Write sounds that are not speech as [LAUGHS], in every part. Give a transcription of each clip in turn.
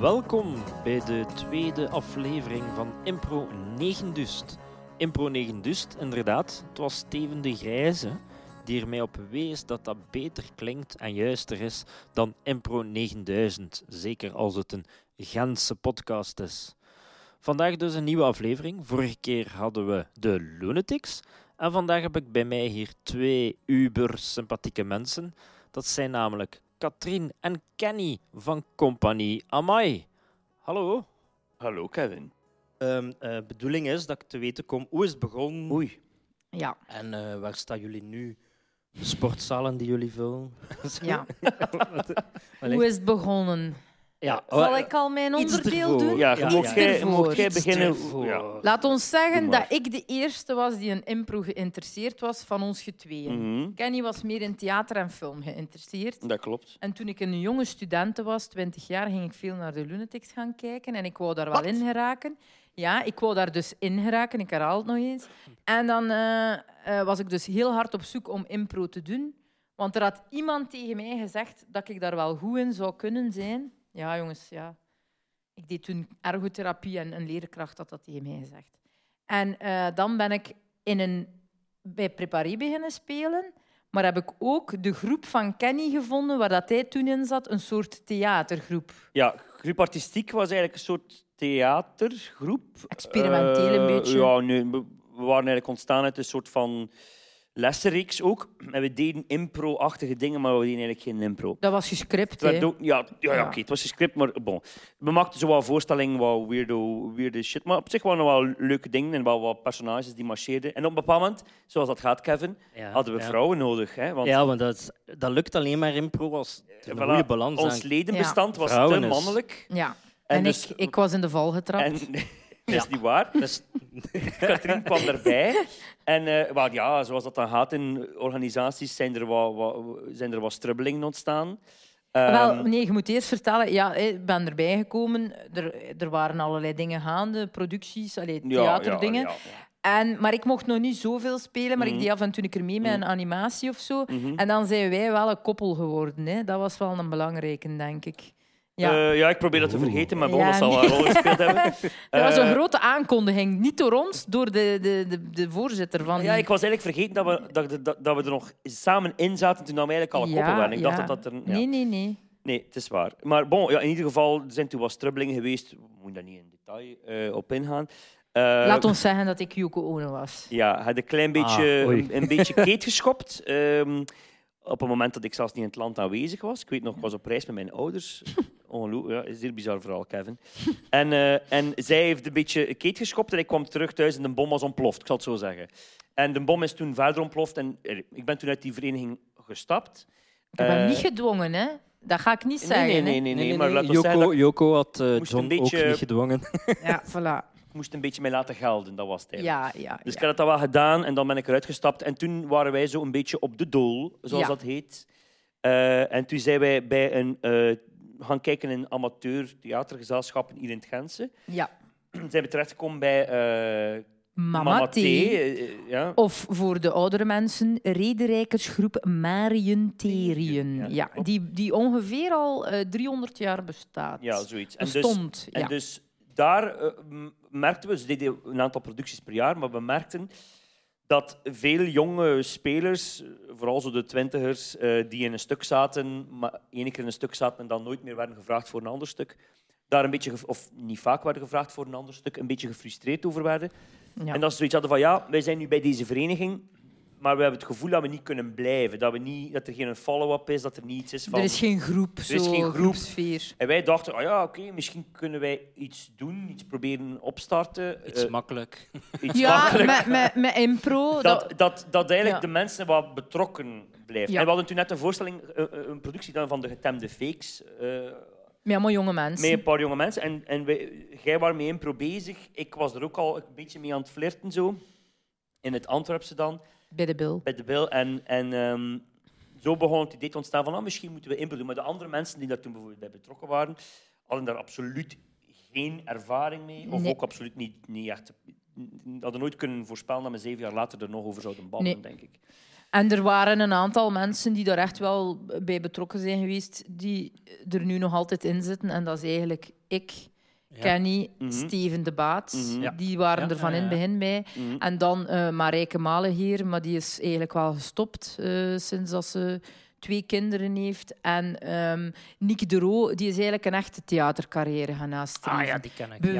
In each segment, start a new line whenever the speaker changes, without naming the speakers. Welkom bij de tweede aflevering van Impro 9 Dust. Impro 9 Dust, inderdaad. Het was Steven de Grijze die er mij op wees dat dat beter klinkt en juister is dan Impro 9000. Zeker als het een Gentse podcast is. Vandaag dus een nieuwe aflevering. Vorige keer hadden we de Lunatics. En vandaag heb ik bij mij hier twee uber sympathieke mensen. Dat zijn namelijk Katrien en Kenny van Compagnie Amai. Hallo.
Hallo Kevin.
Ehm, eh, bedoeling is dat ik te weten kom hoe is het begonnen
Oei.
Ja,
en eh, waar staan jullie nu? De sportzalen die jullie
[LAUGHS]
vullen. Zo. [LAUGHS]
ja.
Wat- Allee.
Hoe is het begonnen?
ja,
Zal
eh,
ik al mijn
iets
onderdeel
ervoor.
doen?
Ja,
Ja,
je mocht
ja.
jij,
Ervoor.
mocht jij
iets
beginnen. Oh.
ervoor.
Ja.
Laat ons zeggen
Doe maar.
dat ik de eerste was die in impro geïnteresseerd was van ons getweeën.
Mm.
Mhm,
Kenny was meer in theater en film geïnteresseerd.
Dat klopt.
En toen ik een jonge student was, 20 jaar, ging ik veel naar de Lunatics gaan kijken. En ik wou daar wel in geraken. Ja, ik wou daar dus in geraken. Ik herhaal het nog eens. En dan eh, eh, was ik dus heel hard op zoek om impro te doen. Want er had iemand tegen mij gezegd dat ik daar wel goed in zou kunnen zijn. Ja, jongens, ja. Ik deed toen ergotherapie en een leerkracht had dat tegen mij gezegd. En eh, dan ben ik in een, bij Preparé beginnen spelen. Maar heb ik ook de groep van Kenny gevonden waar dat hij toen in zat, een soort theatergroep.
Ja, groep artistiek was eigenlijk een soort theatergroep.
Experimenteel een
Eh,
beetje.
Ja, nee, we we waren eigenlijk ontstaan uit een soort van lessenreeks ook. En we deden impro-achtige dingen, maar we deden eigenlijk geen impro.
Dat was gescript,
Het werd
hè.
ook- ja, ja, ja,
Ja.
oké, het was een script, maar bon. We maakten zo wel voorstellingen, wat weirdo, weirde shit. Maar op zich waren er wel leuke dingen en wel wat personages die marcheerden. En op een bepaald moment, zoals dat gaat, Kevin,
Ja,
hadden we
ja.
vrouwen nodig. Hè? Want
Ja, want dat, is- dat lukt alleen maar in pro als het een
voilà,
goede balans
ons
aan-
ledenbestand was
Vrouwen
te
is-
mannelijk.
Ja.
En
En,
dus-
ik, ik was in de val getrapt.
En [LAUGHS] dat is niet waar.
Dat is-
[LAUGHS] Katrien kwam erbij. En eh, wel, ja, zoals dat dan gaat in organisaties, zijn er wat, wat- zijn er wat strubbelingen ontstaan. Ehm,
Wel, nee, je moet eerst vertellen. Ja, hè, ik ben erbij gekomen. Er, er waren allerlei dingen gaande, producties, allee,
ja,
theaterdingen.
ja, ja.
En, maar ik mocht nog niet zoveel spelen, maar
Mhm.
ik deed af en toe een keer mee met een animatie of zo.
Mhm.
En dan zijn wij wel een koppel geworden. Hè. Dat was wel een belangrijke, denk ik. Ja.
Eh, ja, ik probeer dat te vergeten, maar bon,
Ja,
dat zal wel
nee.
een rol gespeeld
[LAUGHS]
hebben.
Dat was een
Eh,
grote aankondiging. Niet door ons, door de, de, de, de voorzitter van...
Ja, ik was eigenlijk vergeten dat we, dat, dat, dat we er nog samen in zaten toen we eigenlijk al een
Ja,
koppel waren. Ik dacht
ja.
dat dat er... ja.
Nee, nee, nee.
Nee, het is waar. Maar bon, ja, in ieder geval, er zijn toen wat strubbelingen geweest. We moeten daar niet in detail eh, op ingaan. Eh,
Laat ons zeggen dat ik Yoko Ono was.
Ja, had een klein beetje,
Ah, oei.
een, een
[LAUGHS]
beetje keet geschopt. Ehm, op het moment dat ik zelfs niet in het land aanwezig was. Ik weet nog, ik was op reis met mijn
[LAUGHS]
ouders. Ongeloo- ja, is heel bizar verhaal, Kevin. En, eh, en zij heeft een beetje keet geschopt en ik kwam terug thuis en de bom was ontploft, ik zal het zo zeggen. En de bom is toen verder ontploft en eh, ik ben toen uit die vereniging gestapt.
Ik heb hem
Eh,
niet gedwongen, hè. Dat ga ik niet
nee,
zeggen,
nee, nee, nee,
hè.
nee,
Nee, nee,
maar
nee,
laat ons zeggen, dat
Joko, Joko had eh,
moest
John
een beetje-
ook niet gedwongen.
Ja, voilà.
ik moest een beetje mij laten gelden, dat was het eigenlijk.
Ja, ja,
Dus ik
ja.
had dat wel gedaan en dan ben ik eruit gestapt. En toen waren wij zo een beetje op de dool, zoals
Ja.
dat heet. Eh, en toen zijn wij bij een, eh, gaan kijken in amateur theatergezelschappen hier in het Gentse.
ja.
Toen zijn we terechtgekomen bij eh
Mama,
Mama
T.
T. Eh, eh, ja.
Of voor de oudere mensen, rederijkersgroep Marienteriën.
Ja,
Ja,
klopt.
die, die ongeveer al eh, 300 jaar bestaat.
ja, zoiets. En dus,
Bestond,
en
ja.
dus daar eh, m- merkten we, ze deden een aantal producties per jaar, maar we merkten dat veel jonge spelers, eh, vooral zo de twintigers, eh, die in een stuk zaten, maar één keer in een stuk zaten en dan nooit meer werden gevraagd voor een ander stuk, daar een beetje, ge- of niet vaak werden gevraagd voor een ander stuk, een beetje gefrustreerd over werden.
Ja.
En dat ze zoiets hadden van, ja, wij zijn nu bij deze vereniging, maar we hebben het gevoel dat we niet kunnen blijven, dat, we niet, dat er geen follow-up is, dat er niets is van...
Er is geen groep,
Er is
zo,
geen groep.
groepsfeer.
En wij dachten, ah ja, oké, misschien kunnen wij iets doen, iets proberen opstarten.
Iets
eh,
makkelijk.
iets
Ja,
makkelijk.
met, met, met impro. dat-
Dat, dat, dat eigenlijk
Ja.
de mensen wat betrokken blijven.
Ja.
En we hadden toen net een voorstelling, eh, eh, een productie gedaan van de getemde fakes. eh,
met allemaal jonge mensen.
met een paar jonge mensen. En, en wij, jij was mee impro bezig. Ik was er ook al een beetje mee aan het flirten zo. In het Antwerpse dan,
Bij de bil.
bij de Bil. En, en ehm, zo begon het idee te ontstaan van ah, misschien moeten we impro doen. Maar de andere mensen die daar toen bijvoorbeeld bij betrokken waren, hadden daar absoluut geen ervaring mee. Of
Nee.
ook absoluut niet, niet echt... Hadden nooit kunnen voorspellen dat we zeven jaar later er nog over zouden babbelen,
Nee.
denk ik.
En er waren een aantal mensen die daar echt wel bij betrokken zijn geweest, die er nu nog altijd in zitten. En dat is eigenlijk ik, Kenny,
Mhm.
Steven de Baat.
Mhm.
Ja.
Die waren
Ja,
er van
ja,
in het
ja.
begin bij.
Mhm.
En dan eh Marijke Malen hier, maar die is eigenlijk wel gestopt eh, sinds dat ze twee kinderen heeft. En ehm Nick de Roo, die is eigenlijk een echte theatercarrière gaan nastreven.
Ah ja, die ken ik. ja.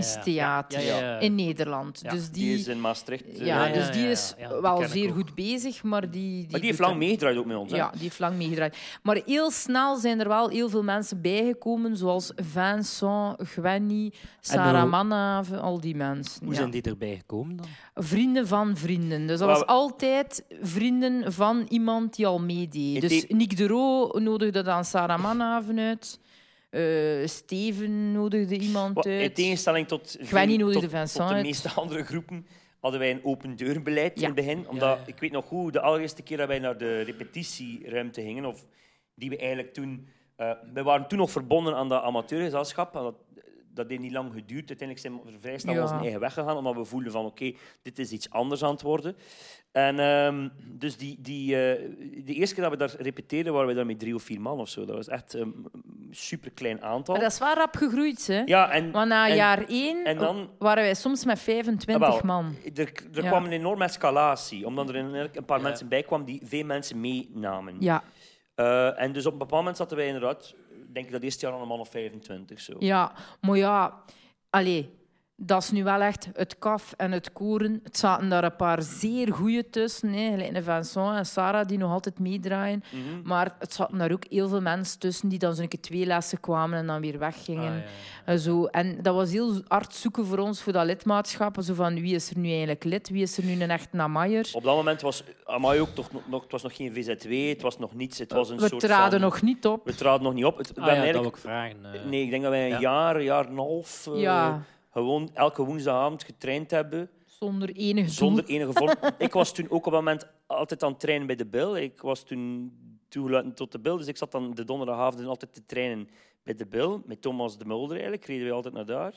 Bewegingstheater
Ja, ja, ja.
in Nederland.
Ja,
Dus die,
Die is in Maastricht. eh,
ja,
ja,
dus
ja,
die
ja,
is
ja, die
wel
ken ik
zeer
ook.
goed bezig, maar die... Die,
maar die
doet
heeft lang
dat-
meegedraaid ook met ons. hè?
Ja, die heeft lang meegedraaid. Maar heel snel zijn er wel heel veel mensen bijgekomen, zoals Vincent, Gwenny, Sarah
hoe-
Manave, al die mensen.
Hoe
ja.
zijn die erbij gekomen dan?
Vrienden van vrienden. Dus
Maar
dat was
we-
altijd vrienden van iemand die al meedeed.
Ik
Dus
denk-
Nick de Roo nodigde dan Sarah Manhaven uit. Eh, Steven nodigde iemand
Wat- In
uit.
tegenstelling tot,
Gwenny
veel-
nodigde
tot,
Vincent
tot de
uit.
meeste [LAUGHS] andere groepen hadden wij een open deurbeleid
Ja.
in het begin. Omdat,
ja.
ik weet nog goed, de allereerste keer dat wij naar de repetitieruimte gingen, of die we eigenlijk toen... eh wij waren toen nog verbonden aan dat amateurgezelschap. en Dat, dat heeft niet lang geduurd. Uiteindelijk zijn we vrij snel
Ja.
onze eigen weg gegaan, omdat we voelden van, oké, dit is iets anders aan het worden. En ehm, dus die, die, eh, de eerste keer dat we daar repeteerden, waren we daar met drie of vier man of zo. Dat was echt een superklein aantal.
Maar dat is wel rap gegroeid, hè?
Ja, en...
Want na
en-
jaar één
en dan- Ah,
waren wij soms met 25
Jawel,
man.
Er, er
Ja.
kwam een enorme escalatie, omdat er een, een paar
Ja.
mensen bij kwamen die veel mensen meenamen.
Ja,
Eh, en dus op een bepaald moment zaten wij inderdaad, denk ik dat eerste jaar al een man of 25. Zo.
ja. maar ja, allee, dat is nu wel echt het kaf en het koren. Het zaten daar een paar zeer goeie tussen, hè, gelijk een Vincent en Sarah, die nog altijd meedraaien.
Mhm.
Maar het zaten daar ook heel veel mensen tussen die dan zo'n keer twee lessen kwamen en dan weer weggingen.
Ah,
En zo. En dat was heel hard zoeken voor ons, voor dat lidmaatschap. Zo van, wie is er nu eigenlijk lid? Wie is er nu een echt namaaier?
Op dat moment was Amai ook toch nog, nog- het was nog geen VZW, het was nog niets. Het was een
We
soort
traden
van-
nog niet op.
We traden nog niet op. Het, we
Ah,
hebben
ja, dat wil
eigenlijk,
ik vragen. eh.
Nee, ik denk dat wij een
Ja.
jaar, jaar en een half eh,
Ja,
gewoon elke woensdagavond getraind hebben.
zonder enig doel.
Zonder enige vorm. ik was toen ook op dat moment altijd aan het trainen bij de Bill. Ik was toen toegelaten tot de Bill. Dus ik zat dan de donderdagavond altijd te trainen bij de Bill. Met Thomas de Mulder eigenlijk. Reden we altijd naar daar.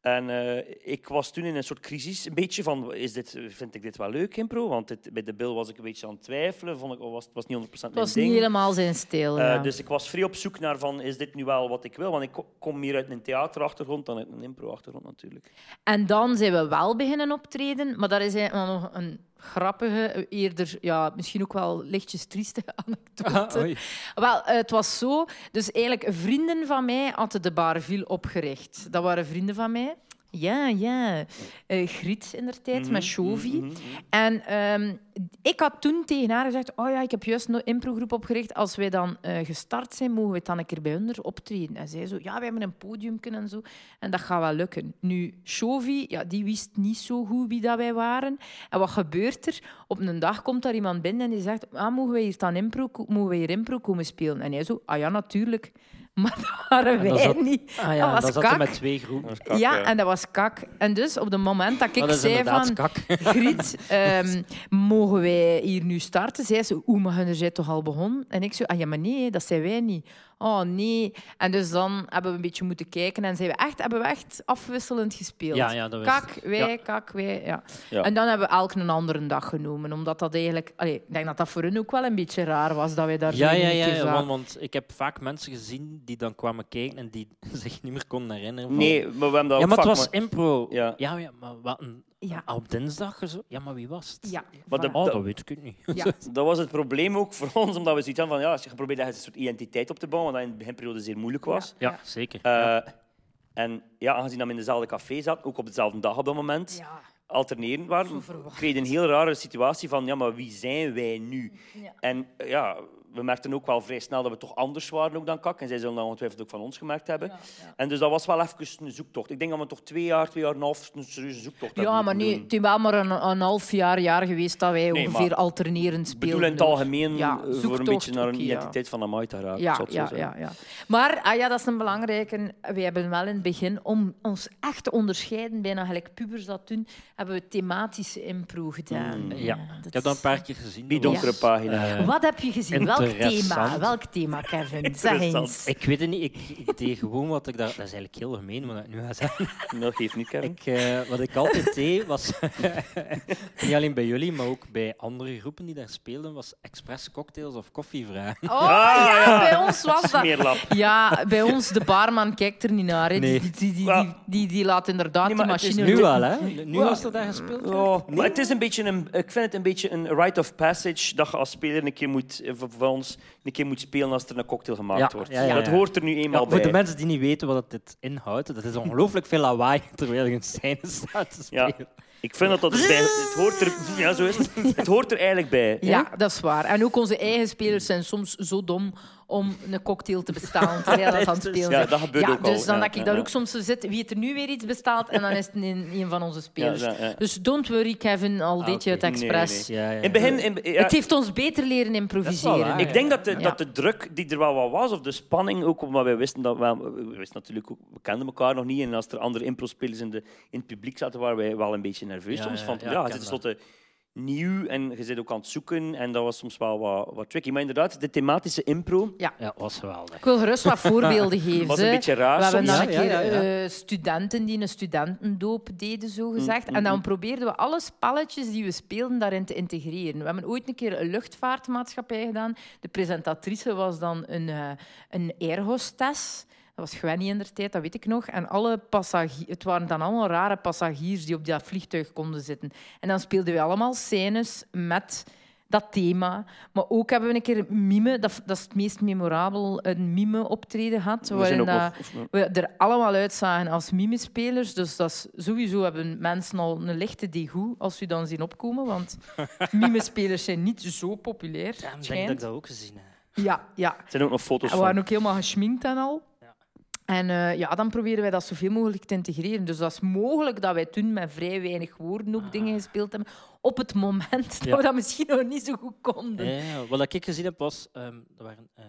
En eh, ik was toen in een soort crisis. Een beetje van, is dit, vind ik dit wel leuk, impro? Want dit- bij de Bill was ik een beetje aan het twijfelen. Vond ik, was, het was niet 100% mijn
Het was
ding.
niet helemaal zijn stijl.
Eh,
ja.
dus ik was vrij op zoek naar van, is dit nu wel wat ik wil? Want ik ko- kom meer uit een theaterachtergrond dan uit een impro-achtergrond natuurlijk.
En dan zijn we wel beginnen optreden, maar dat is eigenlijk wel nog een grappige, eerder ja, misschien ook wel lichtjes trieste [LAUGHS] anekdote.
[LAUGHS] oei.
wel, eh, het was zo, dus eigenlijk vrienden van mij hadden de Barville opgericht. Dat waren vrienden van mij. Ja, ja. Eh Griet in der tijd, met Shovi.
Mhm, mhm.
En ehm, ik had toen tegen haar gezegd: Oh ja, ik heb juist een improgroep opgericht. Als wij dan eh, gestart zijn, mogen we het dan een keer bij hun er optreden. En zij zo: Ja, we hebben een podium en zo. En dat gaat wel lukken. Nu, Shovi, ja, die wist niet zo goed wie dat wij waren. En wat gebeurt er? Op een dag komt daar iemand binnen en die zegt: Ah, mogen wij hier, staan impro, mogen wij hier impro komen spelen? En hij zo: Ah ja, natuurlijk. [LAUGHS] Maar dat waren
En dat
wij
zat-
niet.
Ah
dat
ja,
Oh, was
dan zat hij
kak.
met twee groepen.
Dat is kak,
ja,
ja.
en dat was kak. En dus op het moment dat ik
dat is
zei
inderdaad
van...
kak.
Griet, ehm, mogen wij hier nu starten? Zij zei, oeh, maar hun zijn toch al begonnen? En ik zei, ah ja, maar nee, dat zijn wij niet. Oh, nee. En dus dan hebben we een beetje moeten kijken en zijn we echt, hebben we echt afwisselend gespeeld.
Ja, ja, dat was
Kak, wij, kak, wij, ja.
Ja.
En dan hebben we elk een andere dag genomen, omdat dat eigenlijk... Allee, ik denk dat dat voor hun ook wel een beetje raar was, dat wij daar
Ja,
weer
ja,
een
ja,
keer
ja,
zaten.
want, want ik heb vaak mensen gezien die dan kwamen kijken en die [LAUGHS] zich niet meer konden herinneren. van-
Nee, maar we hebben dat
ja,
ook
maar het
vaak
was impro.
Ja.
Ja, ja, maar wat een,
Ja,
ah, op dinsdag zo? Ja, maar wie was het?
ja.
Maar de-
voilà.
Oh,
Dat-
dat weet ik niet. [LAUGHS]
ja.
Dat was het probleem ook voor ons, omdat we zoiets hadden van ja, als je probeert een soort identiteit op te bouwen, wat dat in de beginperiode zeer moeilijk was.
Ja, zeker.
Eh, en ja, aangezien dat we in dezelfde café zaten, ook op dezelfde dag op dat moment,
Ja.
alterneren
Zo
waren,
verwacht.
kreeg je een heel rare situatie van ja, maar wie zijn wij nu?
Ja.
En eh, ja, we merkten ook wel vrij snel dat we toch anders waren ook dan Kak. En zij zullen dat ongetwijfeld ook van ons gemerkt hebben. En dus dat was wel even een zoektocht. Ik denk dat we toch twee jaar, twee jaar en een half een serieuze zoektocht hebben
Ja, maar
moeten
nee,
doen.
het is wel maar een, een half jaar, jaar geweest dat wij
Nee,
ongeveer
maar Ik
alternerend speelden.
bedoel in het algemeen
Ja,
eh, voor een
zoektocht,
beetje naar een
oké, ja.
identiteit van Amai te raken.
Ja,
zal het zo
ja,
zeggen.
ja, ja. Maar ah ja, dat is een belangrijke. We hebben wel in het begin, om ons echt te onderscheiden, bijna gelijk pubers dat doen, hebben we thematische impro gedaan. Eh,
Mm,
ja.
dat
ik heb dat
is-
een paar keer gezien.
Die
dat was-
donkere pagina.
Eh,
Wat heb je gezien?
in
Welke
Welk
thema? Welk thema, Kevin? Zeg eens.
Ik weet het niet, ik, ik deed gewoon wat ik daar... Dat is eigenlijk heel gemeen, wat ik nu ga zeggen.
Dat geeft niet, Kevin.
Ik, eh, wat ik altijd [LAUGHS] deed, was... niet alleen bij jullie, maar ook bij andere groepen die daar speelden, was expres cocktails of koffie vragen.
Oh, ja, bij ons was dat.
Smeerlap.
Ja, bij ons, de barman kijkt er niet naar. hè.
Nee.
Die, die, die,
Ja.
die, die, die laat inderdaad
Nee,
die
maar het is
machine...
Nu
lopen.
wel, hè? Nu was dat daar gespeeld.
Ja, Oh, maar het is een beetje een, ik vind het een beetje een rite of passage dat je als speler een keer moet, eh, voor voor ons een keer moet spelen als er een cocktail gemaakt
Ja,
wordt.
ja, ja,
Dat
ja.
hoort er nu eenmaal
voor
bij.
de mensen die niet weten wat dit inhoudt, dat is ongelooflijk veel lawaai [LAUGHS] terwijl je een scène staat te
Ja.
spelen.
Ik vind dat dat is bij, het hoort er, ja, zo is het. Het hoort er eigenlijk bij. hè?
Ja, dat is waar. En ook onze eigen spelers zijn soms zo dom om een cocktail te bestalen terwijl dat aan het spelen
[LAUGHS] Ja,
zijn.
dat gebeurt
ja,
ook al.
Dus dan
Ja,
dat ik
ja,
daar
ja.
ook soms zo zit, wie het er nu weer iets bestaat, en dan is het een, een van onze spelers.
Ja, ja, ja.
Dus don't worry, Kevin, al deed je het
oké.
expres.
Nee, nee.
Ja, ja.
In het begin, in, ja,
Het heeft ons beter leren
Dat is wel
improviseren.
waar.
ik denk dat de,
Ah, Ja.
dat de druk die er wel wat was, of de spanning ook, omdat wij wisten dat wij, we wisten natuurlijk ook, we kenden elkaar nog niet. En als er andere impro-spelers in, de- in het publiek zaten, waren wij wel een beetje nerveus.
Ja,
soms
ja,
van,
ja,
ja,
ik
het
ken
is
dat.
tenslotte nieuw en je zit ook aan het zoeken. En dat was soms wel wat, wat tricky. Maar inderdaad, de thematische impro
Ja, was geweldig.
Ik wil gerust wat
[LAUGHS]
voorbeelden geven.
was
ze.
een beetje raar
We hebben
soms.
dan
Ja,
een keer
ja, ja,
eh, studenten die een studentendoop deden,
Mm,
zogezegd. En dan probeerden we alle spelletjes die we speelden daarin te integreren. We hebben ooit een keer een luchtvaartmaatschappij gedaan. De presentatrice was dan een, eh een airhostess. Dat was Gwenny in de tijd, dat weet ik nog. En alle passagiers, het waren dan allemaal rare passagiers die op dat vliegtuig konden zitten. En dan speelden we allemaal scènes met dat thema. Maar ook hebben we een keer mime, dat, dat is het meest memorabel, een mime-optreden gehad.
We zijn
waarin eh,
ook
dat-
nog- of-
we er allemaal uitzagen als mimespelers. Dus dat is, sowieso hebben mensen al een lichte degoe als u dan zien opkomen. Want mimespelers zijn niet zo populair.
Daarom denk ik dat ik
schijnt.
dat ook gezien heb.
Ja, ja.
er zijn ook nog foto's
We
van.
waren ook helemaal geschminkt en al. En eh, ja, dan proberen wij dat zoveel mogelijk te integreren. Dus dat is mogelijk dat wij toen met vrij weinig woorden ook dingen gespeeld hebben. Op het moment dat
Ah. Ja.
we dat misschien nog niet zo goed konden.
Ja, ja. Wat ik gezien heb was, ehm er waren eh,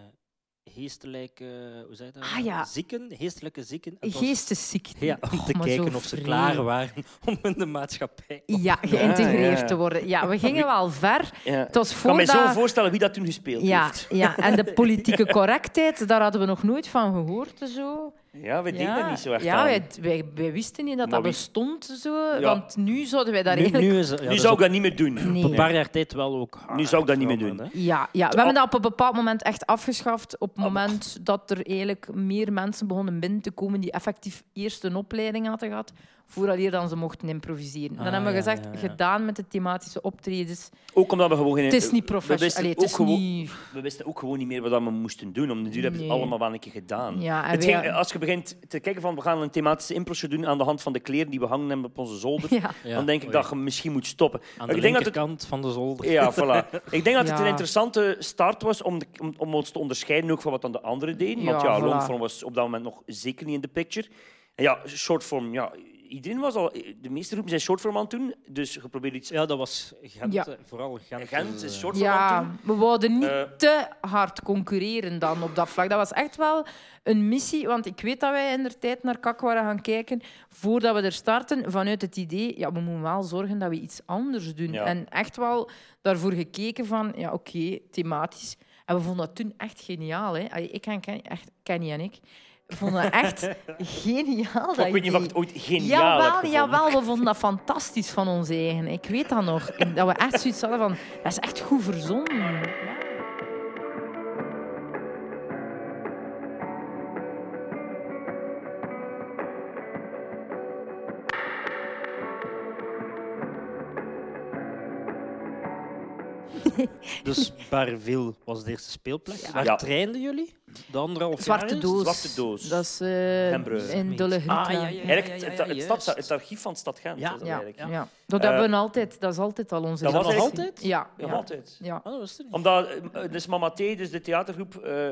geestelijke, hoe zeg je dat?
Ah, ja.
Zieken, geestelijke zieken. Het was-
Geestesziekten.
ja, om
Och,
te
Oh, maar zo
kijken of ze
vreemd.
klaar waren [LAUGHS] om in de maatschappij.
Ja, geïntegreerd
ja.
te worden.
[LAUGHS]
Ja, we gingen wel ver.
Ja.
Het was
Ik kan mij
voordat...
zo voorstellen wie dat toen gespeeld
Ja,
heeft.
ja, en de politieke correctheid, daar hadden we nog nooit van gehoord. Zo.
Ja, we denken
ja.
dat niet zo echt
ja,
aan.
Wij, wij, wij wisten niet dat
Maar
dat
wie-
bestond, zo,
Ja.
want nu zouden wij daar
Nu,
eigenlijk...
nu, is, ja, dat
Nu
is
zou
ook
ik dat niet meer doen.
Nee.
Op een paar jaar tijd wel ook. hard
zou ik dat niet meer
veranderd,
doen.
hè.
Ja, ja, we hebben dat op een bepaald moment echt afgeschaft. Op het moment dat er eigenlijk meer mensen begonnen binnen te komen die effectief eerst een opleiding hadden gehad, vooraleer dan ze mochten improviseren. Dan
Ah,
hebben we
ja,
gezegd,
ja, ja.
gedaan met de thematische optredens.
Ook omdat we gewoon geen...
Het is niet
We wisten,
professioneel. Het
ook
is
gewoon-
niet... [LAUGHS]
we wisten ook gewoon niet meer wat we moesten doen. Om de duur hebben we
Nee.
het allemaal wel een keer gedaan.
Ja, en
Het
wij-
ging- als je begint te kijken van we gaan een thematische improje doen aan de hand van de kleren die we hangen hebben op onze zolder,
[LAUGHS] Ja.
Ja,
dan denk ik
oei.
dat je misschien moet stoppen.
Aan
Maar
de
ik denk dat het,
linkerkant van de zolder.
ja,
[LAUGHS]
voilà. Ik denk dat het
Ja.
een interessante start was om, de- om, om ons te onderscheiden ook van wat dan de anderen deden. Want
Ja,
ja,
voilà.
longform was op dat moment nog zeker niet in de picture. En ja, shortform, ja, iedereen was al... De meeste groepen zijn shortform aan het doen, dus geprobeerd iets...
Ja, dat was Gent,
Ja.
eh, vooral Gent.
Gent
eh,
is shortform aan het
Ja,
doen.
we wouden niet
Eh.
te hard concurreren dan op dat vlak. Dat was echt wel een missie, want ik weet dat wij in de tijd naar kak waren gaan kijken voordat we er starten, vanuit het idee, ja, we moeten wel zorgen dat we iets anders doen.
Ja.
En echt wel daarvoor gekeken van, ja, oké, thematisch. En we vonden dat toen echt geniaal. Hè. Allee, Ik en Ken- echt, Kenny en ik vonden dat echt
[LAUGHS]
geniaal. dat
Ik weet niet of ik
idee.
het ooit geniaal heb
Jawel,
gevonden.
jawel, we vonden dat fantastisch van ons eigen. Ik weet dat nog. En Dat we echt zoiets hadden van, dat is echt goed verzonnen. Ja.
[LAUGHS] Dus Barville was de eerste speelplek. Waar
Ja.
trainden jullie? De anderhalf
Zwarte
jaar?
doos.
Zwarte doos.
Dat is eh,
Hembrugge.
in Dolle Groet.
Ah, ja, ja, ja.
Eigenlijk het- het, het,
juist.
stads- het archief van de stad Gent.
Ja.
was dat
Ja,
eigenlijk.
ja.
Ja.
Dat, hebben we
Eh,
altijd, dat is altijd al onze
dat was
traditie.
eigenlijk- Altijd?
Ja.
Ja,
ja.
altijd.
ja.
Ah, dat was er niet.
Omdat, eh, eh, dus Mama T, dus de theatergroep eh,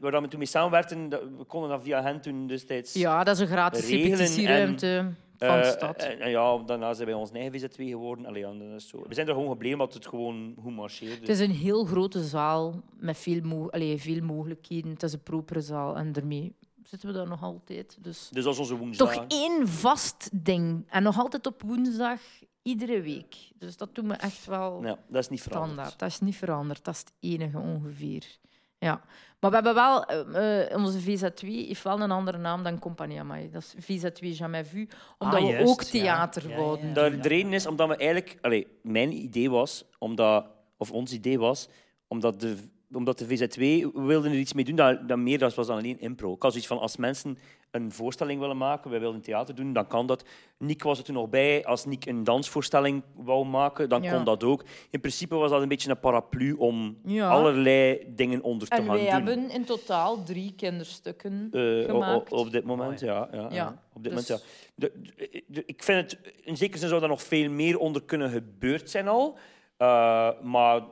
waar we toen mee samenwerkten, dat- we konden dat via hen toen destijds...
Ja, dat is een gratis
Regelen en-
repetitieruimte
eh,
van de stad.
En, en ja, daarna zijn wij ons eigen VZW geworden. Allee, ja, dat is zo. We zijn er gewoon gebleven, omdat het gewoon goed Dus, marcheerde.
het is een heel grote zaal met veel, mo- allee, veel mogelijkheden. Het is een propere zaal en daarmee zitten we daar nog altijd. Dus
Dus dat is onze woensdag.
toch één vast ding. En nog altijd op woensdag Iedere week. Dus dat doet me echt wel
Ja, dat is niet veranderd.
standaard. Dat is niet veranderd. Dat is het enige ongeveer. Ja. Maar we hebben wel... eh, eh, onze VZ2 heeft wel een andere naam dan Compagnie Amai. Dat is VZ2 Jamais Vu. Omdat
Ah,
we
juist,
ook
ja.
theater
Ja,
wouden
ja.
Daar, de reden is omdat we eigenlijk... Allee, mijn idee was, omdat, of ons idee was, omdat de, omdat de VZW wilden er iets mee doen dat, dat meer was dan alleen impro. Ik had zoiets van, als mensen een voorstelling willen maken, wij wilden theater doen, dan kan dat. Nick was er toen nog bij. Als Nick een dansvoorstelling wou maken, dan
Ja.
kon dat ook. In principe was dat een beetje een paraplu om
Ja.
allerlei dingen onder te
En
gaan
wij
doen.
hebben in totaal drie kinderstukken
Eh, o- o-
gemaakt.
op dit moment, ja. ja, ja.
Ja,
Op dit moment,
dus-
ja. De- de- de- ik vind het, in zekere zin zou daar nog veel meer onder kunnen gebeurd zijn al. Eh, maar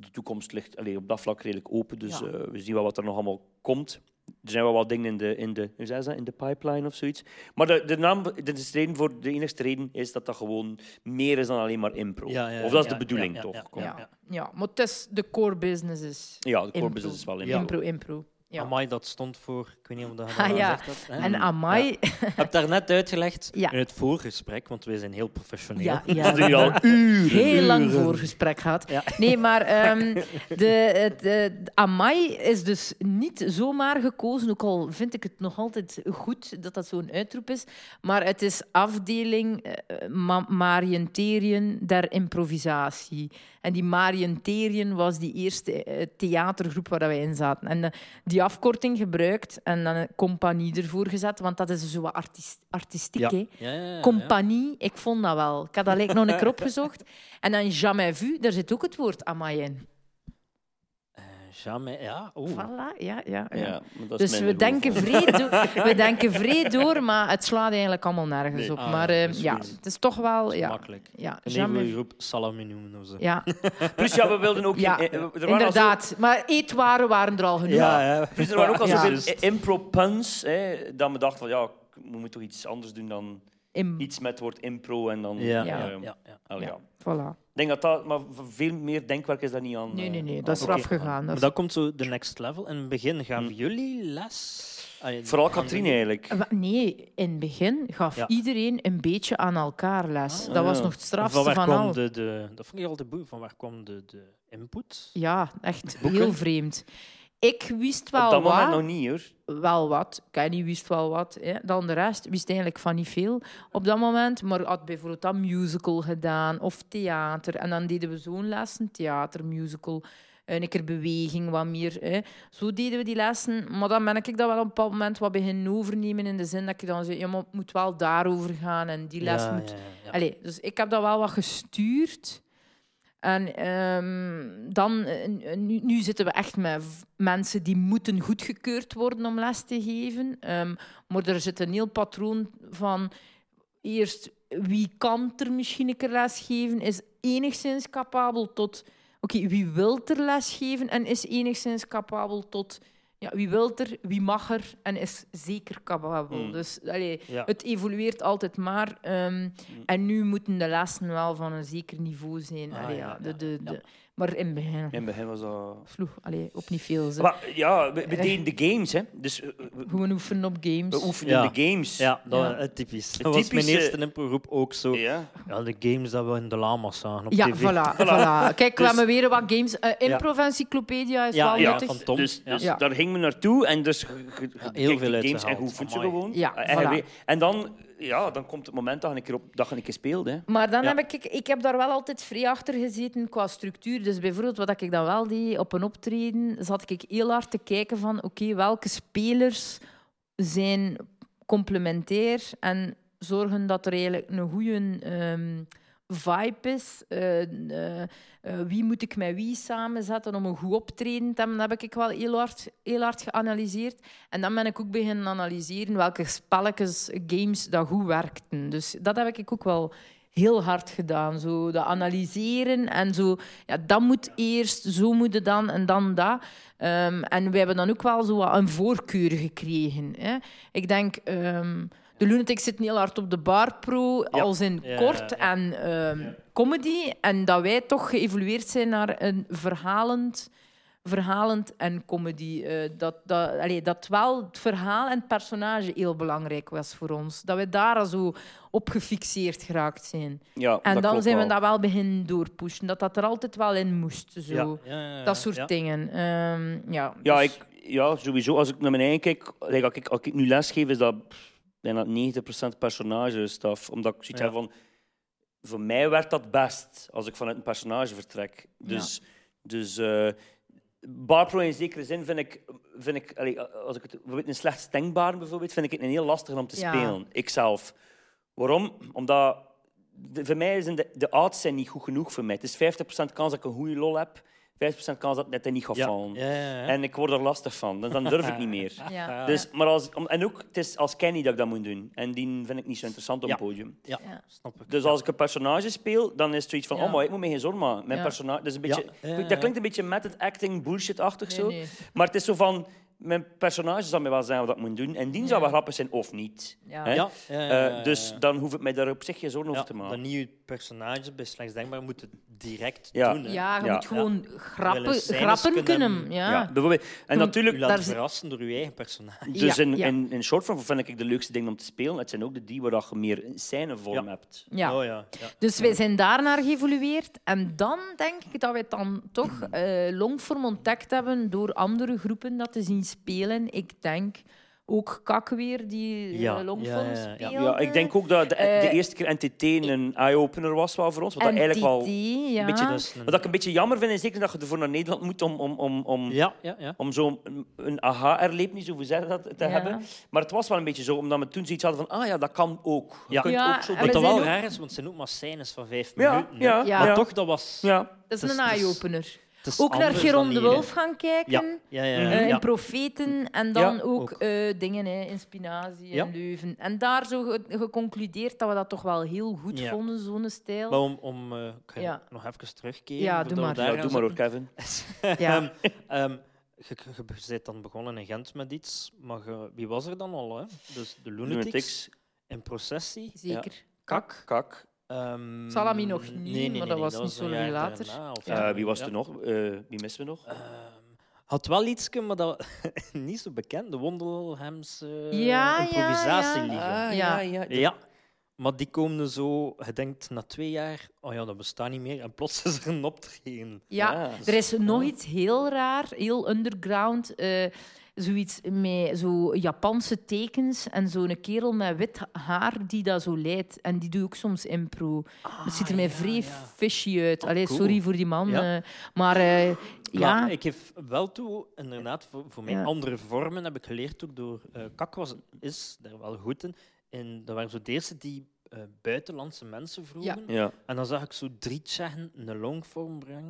de toekomst ligt allee, op dat vlak redelijk open. Dus
Ja.
eh, we zien wel wat er nog allemaal komt. Er zijn wel wat dingen in de, in de, hoe zei ze dat? in de pipeline of zoiets. Maar de, de naam, de, de reden voor, de enigste reden is dat dat gewoon meer is dan alleen maar impro. of dat is de bedoeling, toch?
Ja,
ja. Ja. maar het is de core business is
Ja, de core
Impro.
business is wel
Ja.
impro.
impro, impro. Ja.
Amai, dat stond voor, ik weet niet of dat je
Ah,
dat
ja.
gezegd hebt, hè.
Mm.
En Amai,
Ik heb daarnet uitgelegd
Ja.
in het voorgesprek, want wij zijn heel professioneel.
ja, ja,
Dat doe je al uren.
heel lang voorgesprek gehad.
Ja.
Nee, maar ehm,
[LAUGHS]
de, het, eh, de Amai is dus niet zomaar gekozen, ook al vind ik het nog altijd goed dat dat zo'n uitroep is. Maar het is afdeling eh, ma- Marienteriën der improvisatie. En die Marienteriën was die eerste eh, theatergroep waar dat wij in zaten. En eh, die afkorting gebruikt en dan een compagnie ervoor gezet, want dat is zo wat artis- artistiek,
Ja.
hè.
[LAUGHS] Ja, ja, ja, ja.
Compagnie, ik vond dat wel. Ik had dat lijkt nog een keer opgezocht. En dan jamais vu, daar zit ook het woord amai in.
Jamais, ja. Oeh.
Voilà, ja, ja. ja.
Ja, maar dat is minder
dus we
goed
denken,
voor-
vreed door, we denken vreed door, maar het slaat eigenlijk allemaal nergens
Nee.
op.
Ah,
maar
ja,
eh,
dat is
ja,
goed.
het is toch wel...
Dat is
Ja,
makkelijk.
ja,
En even
jamais
de
vu.
groep salami noemen of zo.
Ja,
Plus, ja, we wilden
[LAUGHS]
ook...
ja
eh, eh, er waren al zo-
inderdaad. Maar eetwaren waren er al genoeg.
ja.
Dus er waren ook al
Ja.
zoveel impro-puns, hè, dat we dachten van, ja, ik moet toch iets anders doen dan
In-
iets met het woord impro en dan...
Ja,
Ja.
ja,
eh,
ja, ja.
allee, ja.
Voilà.
Ik denk dat dat... Maar v- veel meer denkwerk is daar niet aan...
Nee,
eh,
nee, nee,
aan
dat is
vooraf.
eraf gegaan. Dat
Ah, Maar
is-
dat komt zo de next level. In het begin gaven
Hm.
jullie les. Ah, ja,
Vooral
aan de-
Katrien eigenlijk.
Wa- Nee, in het begin gaf
Ja.
iedereen een beetje aan elkaar les.
Ah.
Dat was
Ja.
nog het strafste
Van
van,
waar kwam
al.
de, de... Dat vond ik altijd boeiend. Van waar kwam de, de input?
Ja, echt
Boeken?
heel vreemd. Ik wist wel
Op dat moment
wat,
nog niet, hoor.
wel wat. Kenny wist wel wat. Hè. Dan de rest wist eigenlijk van niet veel op dat moment. Maar had bijvoorbeeld dat musical gedaan of theater. En dan deden we zo'n lessen, theater, musical. Een keer beweging, wat meer. Hè. Zo deden we die lessen. Maar dan ben ik dat wel op een bepaald moment wat beginnen overnemen. In de zin dat ik dan zei, ja, maar het moet wel daarover gaan. En die les
Ja,
moet
ja, ja.
Allee, dus ik heb dat wel wat gestuurd. En ehm, dan, eh, nu, nu zitten we echt met v- mensen die moeten goedgekeurd worden om les te geven. Ehm, maar er zit een heel patroon van eerst wie kan er misschien een keer les geven, is enigszins capabel tot... Oké, wie wil er les geven en is enigszins capabel tot... Ja, wie wil er, wie mag er en is zeker capabel.
Mm.
Dus allee,
Ja. Mm.
het evolueert altijd maar. ehm, En nu moeten de lessen wel van een zeker niveau zijn.
Ah,
Allee,
ja,
ja,
ja,
de, de,
ja.
de- Maar in het begin
In het begin was dat...
sloeg allee, op niet veel. Ze.
Maar, ja, we, we deden de games, hè. Dus eh, we,
Gewoon oefenen op Eh. games.
we oefenden
Ja.
de games.
Ja, Oh, dat
Ja.
eh, typisch. Dat
Het
was mijn
typische-
eerste improgroep ook zo.
Ja.
Ja, de games dat we in de lama's zagen op
ja,
tv. [LAUGHS] Dus-
voilà, voilà. Kijk, we hebben weer wat games. Eh, Improvencyclopedia is
Ja,
wel
ja,
nuttig.
van Tom.
Dus, dus
Ja.
daar ging men naartoe en dus ge- ge- ge-
heel
keek
veel
de games en
uitgehaald.
hoe voelt ze
Amai.
gewoon.
Ja,
en, je
voilà.
weet- en dan, ja, dan komt het moment dat je een keer, op, dat je een keer speelt. Hè.
Maar dan
Ja.
heb ik, ik heb daar wel altijd vrij achter gezeten qua structuur. Dus bijvoorbeeld wat ik dan wel deed op een optreden, zat ik heel hard te kijken van oké, welke spelers zijn complementair en zorgen dat er eigenlijk een goede ehm, vibe is. Eh, eh, eh, wie moet ik met wie samenzetten om een goed optreden te hebben? Dat heb ik wel heel hard, heel hard geanalyseerd. En dan ben ik ook beginnen analyseren welke spelletjes, games dat goed werkten. Dus dat heb ik ook wel heel hard gedaan. Zo dat analyseren en zo, ja, dat moet eerst, zo moet het dan en dan dat. Ehm, en we hebben dan ook wel zo wat een voorkeur gekregen. Hè. Ik denk, ehm, de Lunatic zit heel hard op de barpro,
Ja.
als in
Ja,
kort
ja.
en ehm, comedy. En dat wij toch geëvolueerd zijn naar een verhalend verhalend en comedy. eh, dat, dat, allee, dat wel het verhaal en het personage heel belangrijk was voor ons. Dat we daar zo op gefixeerd geraakt zijn.
Ja,
En
dat
dan
klopt
zijn we
wel.
dat wel beginnen doorpushen. Dat dat er altijd wel in moest. Zo.
Ja.
Ja, ja,
Dat soort
ja.
dingen. Ehm, ja,
Ja,
dus-
ik, ja, sowieso. Als ik naar mijn eigen kijk, like, als, ik, als ik nu lesgeef, is dat pff, bijna 90% personagestaf. Omdat ik zoiets
Ja.
heb van... Voor mij werkt dat best als ik vanuit een personage vertrek. Dus... dus eh, Barpro in zekere zin vind ik, vind ik allee, als ik het bijvoorbeeld een slecht denkbaar bijvoorbeeld, vind ik het een heel lastig om te
Ja.
spelen. Ikzelf. Waarom? Omdat de- voor mij zijn de, de odds zijn niet goed genoeg voor mij. Het is 50% kans dat ik een goede lol heb, 50% kans dat het net niet gaat
Ja.
vallen.
Ja, ja, ja.
En ik word er lastig van. Dan, dan durf ik niet
[LAUGHS]
meer.
ja.
Ah.
Dus, maar als, om- en ook, het is als Kenny dat ik dat moet doen. En die vind ik niet zo interessant op
Ja.
het podium.
Ja,
Ja.
snap ik.
Dus als ik een personage speel, dan is het zoiets van...
Ja.
Oh, maar ik moet me geen zorgen maken. Mijn
Ja.
personage... Dat, is een
Ja.
beetje,
Ja, ja, ja.
dat klinkt een beetje met het acting bullshit-achtig
Nee,
zo.
nee.
Maar het is zo van... Mijn personage zal mij wel zeggen wat ik moet doen. En die zal
Ja.
wel grappig zijn of niet.
Ja.
Hè?
Ja, ja, ja,
Eh,
ja, ja,
dus
ja.
dan hoef ik mij daar op zich geen zorgen
Ja,
over te maken.
Dat nieuwe personage bij slechts denkbaar moet het direct
Ja.
doen. hè.
Ja, je
Ja.
moet gewoon
Willen
grappen,
scènes
grappen
kunnen-
kunnen. Ja.
Ja, bijvoorbeeld. En natuurlijk...
U laat
Daar zi-
verrassen door uw eigen personage.
Dus
Ja,
in,
ja.
In, in short form vind ik de leukste dingen om te spelen. Het zijn ook de die waar dat je meer scènevorm
Ja.
hebt.
Ja.
Oh, ja. ja.
Dus wij zijn daarnaar geëvolueerd. En dan denk ik dat wij het dan toch eh longvorm ontdekt hebben door andere groepen dat te zien spelen. Ik denk ook Kak weer, die eh,
Ja,
longvorm
ja, ja, ja.
speelde.
Ja, ik denk ook dat de, de
Eh,
eerste keer NTT een eye-opener was wel voor ons. Wat dat
En
eigenlijk wel,
TT, ja.
een beetje
Dat is een-
wat ik een beetje jammer vind, is zeker dat je ervoor naar Nederland moet om, om, om, om,
ja, ja, ja.
om zo'n een, een aha-erlevenis, hoe zeggen dat, te
Ja.
hebben. Maar het was wel een beetje zo, omdat we toen zoiets hadden van, ah ja, dat kan ook. Je
Ja.
kunt
Ja,
ook zo
en
Wat
doen.
we
dat wel
zijn ook-
raar is, want het zijn ook maar scènes van vijf
Ja,
minuten. hè.
ja,
Ja.
ja.
Maar
ja.
toch, dat was...
Dat
Het is-
is een
het is-
eye-opener.
het is
Ook naar
anders dan
Geron de
hier, hè.
Wolf gaan kijken.
Ja, ja, ja. ja,
Eh,
ja.
in profeten en dan
Ja,
ook,
ook.
eh, dingen hè, in spinazie en
Ja.
leuven. En daar zo ge- geconcludeerd dat we dat toch wel heel goed
Ja.
vonden, zo'n stijl.
Maar om, om eh, ik ga
Ja.
nog even terugkeren.
Ja,
voordat
doe
we
maar.
daar
Ja,
gaan
doe maar hoor, Kevin.
Ja.
Ehm, ehm, je, je- je bent dan begonnen in Gent met iets, maar je- wie was er dan al? Hè? Dus de Lunatics,
Lunatics,
in processie.
Zeker.
Kak.
kak.
ehm,
Salami nog niet,
nee,
maar dat was
een
niet zo
jaar
lang later.
daarna of
Eh,
zo.
wie was
Ja.
er nog? Eh, wie missen we nog?
Ah,
Ehm, had wel iets, maar dat [LAUGHS] niet zo bekend. De Wondelhamse
Ja, ja, ja.
improvisatielieden.
Ah,
ja,
ja.
ja.
Ja, maar die komen zo, je denkt na twee jaar, oh ja, dat bestaat niet meer. En plots is er een optreden.
Ja,
Ja.
er is nog iets heel raar, heel underground. eh, zoiets met zo Japanse tekens en zo'n kerel met wit haar die dat zo leidt. En die doet ook soms impro. Ah, het ziet
Ah,
er mij
Ah,
vrij fishy uit. Allee,
cool.
sorry voor die man.
Ja.
eh, maar eh, ja,
Maar ik geef wel toe, inderdaad, voor, voor mijn
Ja.
andere vormen heb ik geleerd ook door eh Kak was, is daar wel goed in. En dat waren zo deze die eh, buitenlandse mensen vroegen.
Ja.
En dan zag ik zo drie Tsjechen een longvorm brengen.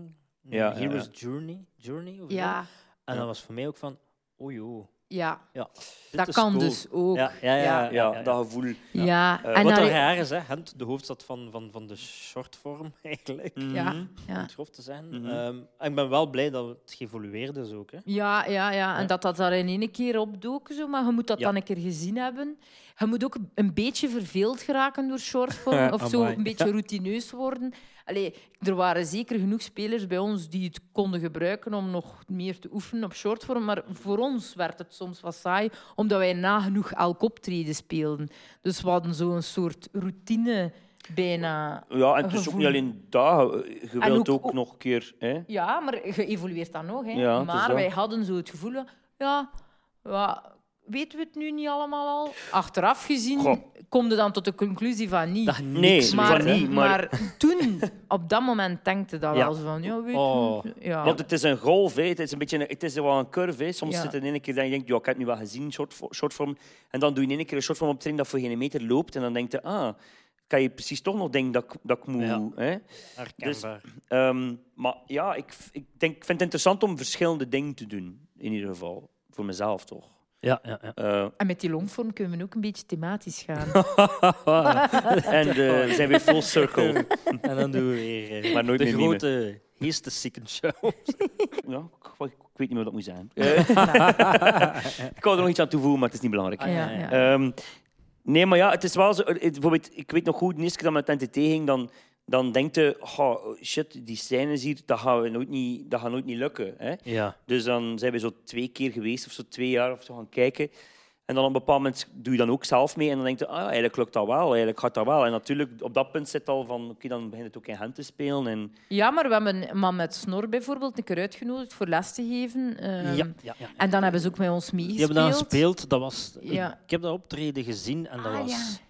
Een
Ja, ja,
Hero's
ja.
Journey. Journey of zo.
ja,
En
Ja.
dat was voor mij ook van, oh joh.
ja.
Ja, dit
dat
is
kan
cool.
dus ook.
Ja, ja, ja, ja,
Ja.
ja,
Ja,
ja.
dat gevoel.
Ja,
Eh,
en
Wat
daar-
dan raar is, hè? Gent, de hoofdstad van, van, van de shortvorm [LAUGHS] eigenlijk.
Mm. ja,
Mhm.
Om
ja.
het grof te zijn. Ehm,
Mhm.
ik ben wel blij dat het geëvolueerd is ook. Hè.
Ja, ja, ja. En
Ja.
dat dat daar in één keer opdoken, zo. maar je moet dat
Ja.
dan een keer gezien hebben. Je moet ook een beetje verveeld geraken door
[LAUGHS]
shortform of zo
Amai.
een beetje routineus worden. Allee, er waren zeker genoeg spelers bij ons die het konden gebruiken om nog meer te oefenen op shortform, maar voor ons werd het soms wat saai, omdat wij nagenoeg elk optreden speelden. Dus we hadden zo'n soort routine bijna.
Ja, en het is ook
Gevoel.
niet alleen daar. Je
En
wilt
ook-
ook nog een keer... Hè?
Ja, maar geëvolueerd dan nog. Hè.
Ja, het is
maar
dat.
wij hadden zo het gevoel, ja, ja, weten we het nu niet allemaal al? Achteraf gezien
Goh.
kom je dan tot de conclusie van niet.
Dat
Nee,
niks
maar-
meer, hè.
niet,
maar toen, op dat moment, denkte dat
Ja.
wel zo van, ja, weet
Oh.
je, ja.
Want het is een golf, hè. het is een beetje een- het is wel een curve. Hè. Soms
Ja.
zit het in één keer dat je denkt, ja, ik heb het nu wel gezien, short, shortform. En dan doe je in één keer een shortform op train dat voor geen meter loopt. En dan denk je, ah, kan je precies toch nog denken dat ik, dat ik moet.
Ja.
Hè.
Herkenbaar.
Ehm, maar ja, ik, ik, denk, ik vind het interessant om verschillende dingen te doen, in ieder geval. Voor mezelf toch.
Ja, ja, [LAUGHS] ja.
Eh,
En met die longvorm kunnen we ook een beetje thematisch
[LAUGHS]
gaan.
en eh, we zijn weer full
[LAUGHS]
circle.
Ah, En dan doen we weer eh,
Maar nooit
de
meer
grote geestesziekenshow.
Ja, ik, ik weet niet meer wat dat moet zijn. Eh, [LAUGHS] ik wou er nog iets aan toevoegen, maar het is niet belangrijk.
Ah, ja, ja, ja.
Ehm, nee, maar ja, het is wel zo. eh, het- Bijvoorbeeld, ik weet nog goed, de eerste keer dat ik met NTT ging, dan, dan denkt je, "Goh, shit, die scènes hier, dat gaat we nooit niet, dat gaat nooit niet lukken. Hè?
Ja.
Dus dan zijn we zo twee keer geweest, of zo twee jaar, of zo gaan kijken. En dan op een bepaald moment doe je dan ook zelf mee en dan denk je, ah, eigenlijk lukt dat wel, eigenlijk gaat dat wel. En natuurlijk, op dat punt zit al van, oké, dan begint het ook in hen te spelen. En,
Ja, maar we hebben een man met snor bijvoorbeeld een keer uitgenodigd voor les te geven. ehm,
ja, ja, ja.
En dan hebben ze ook met ons
Die
meegespeeld.
hebben daar gespeeld. Dat was,
Ja.
Ik heb dat optreden gezien en dat
Ah,
was
ja.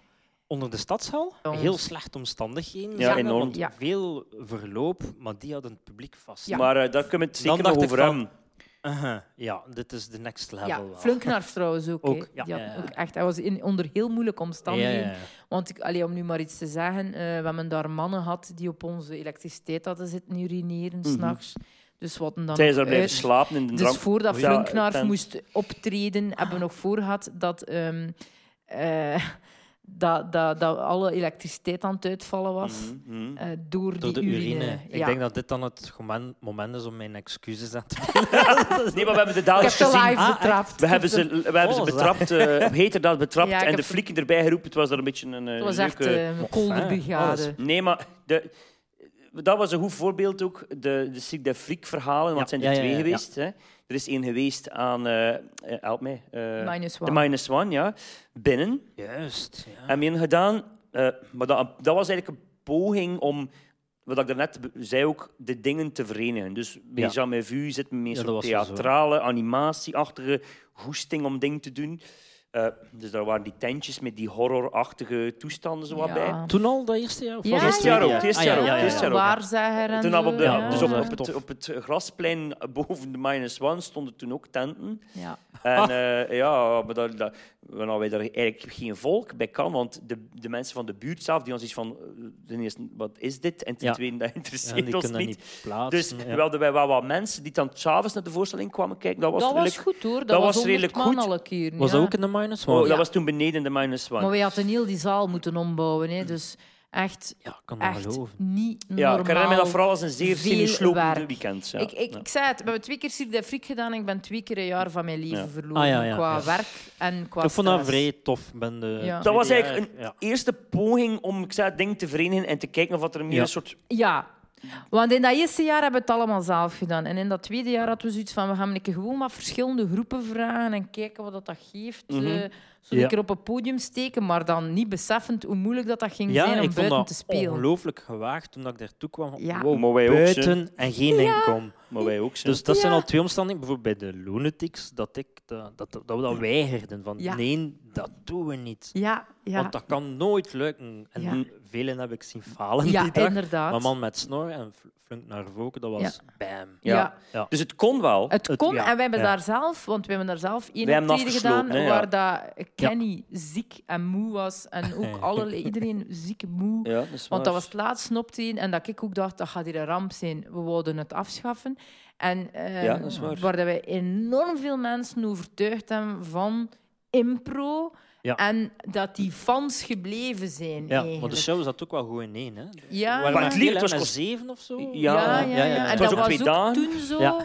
onder de stadshal.
Jongens.
Heel slecht omstandigheden.
Ja,
zagen we,
enorm.
want
Ja.
Veel verloop, maar die hadden het publiek vast.
Ja.
Maar eh, daar kunnen we het
Dan
zeker nog
dacht ik
over
van-
hebben.
Aha, ja, dit is de next level.
Ja,
wel.
Flunknaars trouwens ook.
Ook,
hè.
ja.
Die had
Ja, ja.
ook echt, hij was in, onder heel moeilijke
Ja,
omstandigheden.
ja, ja.
Want ik, allee, om nu maar iets te zeggen, eh, we hebben daar mannen gehad die op onze elektriciteit hadden zitten urineren,
Mhm.
s'nachts. Dus wat dan
Zij is daar
nog
blijven
uit.
slapen in de
Dus
drank.
voordat
Ja,
Flunknaar
tent.
moest optreden, hebben we nog voor gehad dat, ehm, eh, dat, dat, dat alle elektriciteit aan het uitvallen was.
Mhm, mhm.
eh, door,
Door de
die
urine. Ik
Ja.
denk dat dit dan het gomen- moment is om mijn excuses aan te
[LAUGHS] Nee, maar we hebben de
ik heb
daders
ze
gezien.
live
Ah, echt?
betrapt.
We hebben ze, we hebben ze
Oh,
betrapt, eh heter dat betrapt,
Ja, ik
en de
heb-
flikken erbij geroepen. Het was daar een beetje een eh,
Het was echt
leuke... Oh,
eh, een kolde brigade.
Nee, maar de, dat was een goed voorbeeld ook. De, de Cirque de Frik verhalen, want het zijn er
ja, ja,
twee
ja, ja.
geweest. Hè. Er is één geweest aan, eh, eh, help mij, eh,
Minus
de
one.
Minus One, ja. Binnen.
Juist. Ja.
En men gedaan, eh, maar dat, dat was eigenlijk een poging om, wat ik daarnet be- zei ook, de dingen te verenigen. Dus bij
Ja.
Jean Vu zit men
Ja,
meer
dat
zo'n
was er zo.
theatrale, animatieachtige goesting om dingen te doen. Eh, dus daar waren die tentjes met die horrorachtige toestanden zo wat bij.
Ja.
Toen al, dat eerste jaar? Of
Ja,
was
ja,
het tweede
ja. Het eerste
Ah, ja,
jaar ook,
ja,
het
ja,
eerste
ja.
jaar ook.
Waarzegger en
Toen
zo.
hadden we op de,
Ja,
dus
ja.
op, op, het,
Tof.
op het grasplein boven de Minus One stonden toen ook tenten.
Ja.
Ah.
En eh, ja, maar dat, dat, waarna wij daar eigenlijk geen volk bij kan, want de, de mensen van de buurt zelf, die ons iets van, eh, ten eerste, wat is dit? En ten
Ja.
tweede, dat
Ja,
interesseert
die
ons
kunnen dat
niet.
niet plaatsen.
Dus
ja.
we hadden wij wel wat mensen die dan s'avonds naar de voorstelling kwamen kijken. Dat was,
dat was
redelijk-
goed hoor. Dat,
dat was
was 100
redelijk
man
goed.
alle keer.
Was
ja.
dat ook in de minus?
oh,
one?
dat
Ja.
was toen beneden de minus one.
Maar wij hadden heel die zaal moeten ombouwen. Hè. Dus echt,
Ja, ik kan dat
echt
geloven.
niet normaal.
ja, ik herinner me dat vooral als een zeer
veel
zenuwslopende
werk.
weekend. Ja.
Ik, ik,
Ja.
ik zei het, we hebben twee keer Cirque de Freak gedaan en ik ben twee keer een jaar van mijn leven
Ja.
verloren.
Ah, ja, ja,
qua
ja.
werk en qua
Ik vond dat
stress.
vrij tof. Ben de
Ja.
Dat was
tweede
eigenlijk een
jaar.
eerste poging om ik zei, het ding te verenigen en te kijken of dat er meer
Ja.
een soort...
Ja. Want in dat eerste jaar hebben we het allemaal zelf gedaan. En in dat tweede jaar hadden we zoiets van... We gaan een keer gewoon wat verschillende groepen vragen en kijken wat dat, dat geeft.
Mhm.
Eh, zo
Ja.
een keer op het podium steken, maar dan niet beseffend hoe moeilijk dat, dat ging
Ja,
zijn om
ik vond
buiten
dat
te spelen.
ongelooflijk gewaagd toen ik daartoe kwam. van,
Ja.
Wow,
Maar wij ook,
buiten en geen inkom.
Maar wij ook, zo.
Dus dat zijn
Ja.
al twee omstandigheden. Bijvoorbeeld bij de lunatics, dat, ik, dat, dat, dat we dat weigerden. Van,
Ja.
Nee, dat doen we niet.
Ja, ja.
Want dat kan nooit lukken. En
Ja.
velen heb ik zien falen
ja
die dag.
inderdaad.
Maar man met snor en fl- flunk naar voren, dat was bam.
ja.
Ja. Dus het kon wel.
Het
Het-
kon,
ja,
en wij hebben
ja.
daar zelf, want we hebben daar zelf
We
één
hebben
optreden gedaan
afgesloten, hè, ja.
waar dat Kenny ziek en moe was en
[LAUGHS]
ook allerlei, iedereen ziek moe.
Ja, dat is
Want
waar.
dat was het laatste optreden en dat ik ook dacht, dat gaat hier een ramp zijn. We wilden het afschaffen. En eh,
Ja, dat is waar.
waar dat wij enorm veel mensen overtuigd hebben van impro
Ja.
en dat die fans gebleven zijn.
Ja, maar de
eigenlijk.
show zat ook wel goed in één. Hè.
Ja,
Waren
Maar
er
het liefst
veel,
was
hè, met
kost-
zeven of zo?
Ja,
ja, ja,
ja, ja.
En
Het
was
dat
ook
was
twee
ook
dagen.
toen zo.
Ja.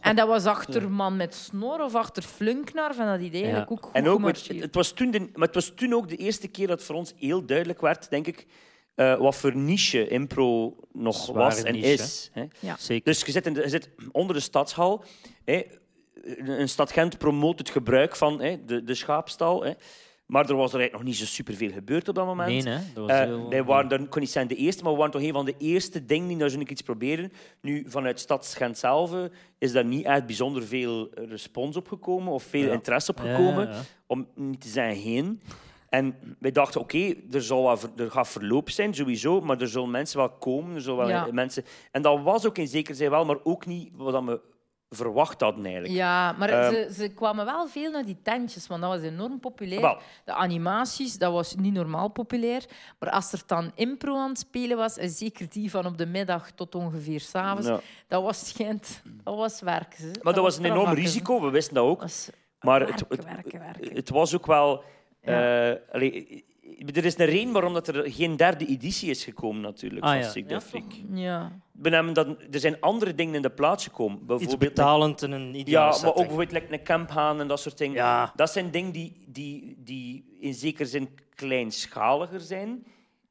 En dat was achter man met snor of achter flunknar. En dat idee eigenlijk ook goed
En ook met,
gemarcheerd.
het, het was toen de, maar het was toen ook de eerste keer dat voor ons heel duidelijk werd, denk ik, eh, wat voor niche impro nog
Zware
was en
niche,
is. Hè.
Zeker.
Dus je zit, in de- je zit onder de stadshal. Hè. Een, een stad Gent promoot het gebruik van hè, de, de schaapstal. Hè. Maar er was er eigenlijk nog niet zo superveel gebeurd op dat moment.
nee, hè. Dat was
Eh,
heel...
wij waren, dan kon niet zijn de eerste, maar we waren toch een van de eerste dingen die daar zo'n keer iets proberen. Nu, vanuit Stadsgent zelf eh, is daar niet echt bijzonder veel eh, respons op gekomen of veel
Ja.
interesse op
Ja, ja,
gekomen,
ja.
om niet te zijn geen. En wij dachten, oké, er, zal wel ver- er gaat verloop zijn, sowieso, maar er zullen mensen wel komen. Er zullen wel
Ja.
eh, mensen... En dat was ook in zekere zin wel, maar ook niet wat dat we verwacht hadden eigenlijk.
Ja, maar
Ehm.
ze, ze kwamen wel veel naar die tentjes, want dat was enorm populair.
Wel.
De animaties, dat was niet normaal populair. Maar als er dan impro aan het spelen was, en zeker die van op de middag tot ongeveer s'avonds,
Ja.
dat was schijnt, dat was werken. ze.
Maar dat was een enorm
travakken, ze.
risico, we wisten dat ook.
Dat was
Maar het,
werken,
het,
werken, werken.
het was ook wel. eh, allee, er is een reden waarom dat er geen derde editie is gekomen, natuurlijk.
Ah,
van
ja.
Sick de
Ja,
Freak.
Ja.
We hebben dat, er zijn andere dingen in de plaats gekomen.
Iets
Bijvoorbeeld
betalend in een
ja,
ideale
maar ook
setting.
bijvoorbeeld like, een camphaan en dat soort dingen.
Ja.
Dat zijn dingen die, die, die in zekere zin kleinschaliger zijn.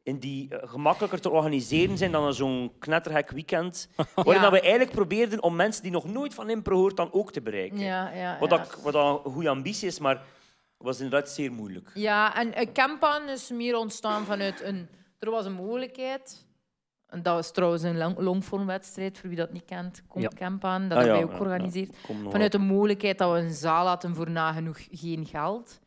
en die eh, gemakkelijker te organiseren zijn dan een zo'n knetterhek
[LAUGHS]
weekend. Waarin dat we eigenlijk probeerden om mensen die nog nooit van impro hoort dan ook te bereiken.
Ja, ja,
Wat,
Ah, ja.
dat- wat dat een goede ambitie is, maar was inderdaad zeer moeilijk.
Ja, en een campan is meer ontstaan vanuit een... Er was een mogelijkheid. En dat was trouwens een long- longvormwedstrijd, voor wie dat niet kent. Komt
Ja.
campan, dat
Ah,
hebben
ja,
wij ook
ja,
georganiseerd.
Kom nog
Vanuit de mogelijkheid dat we een zaal hadden voor nagenoeg geen geld.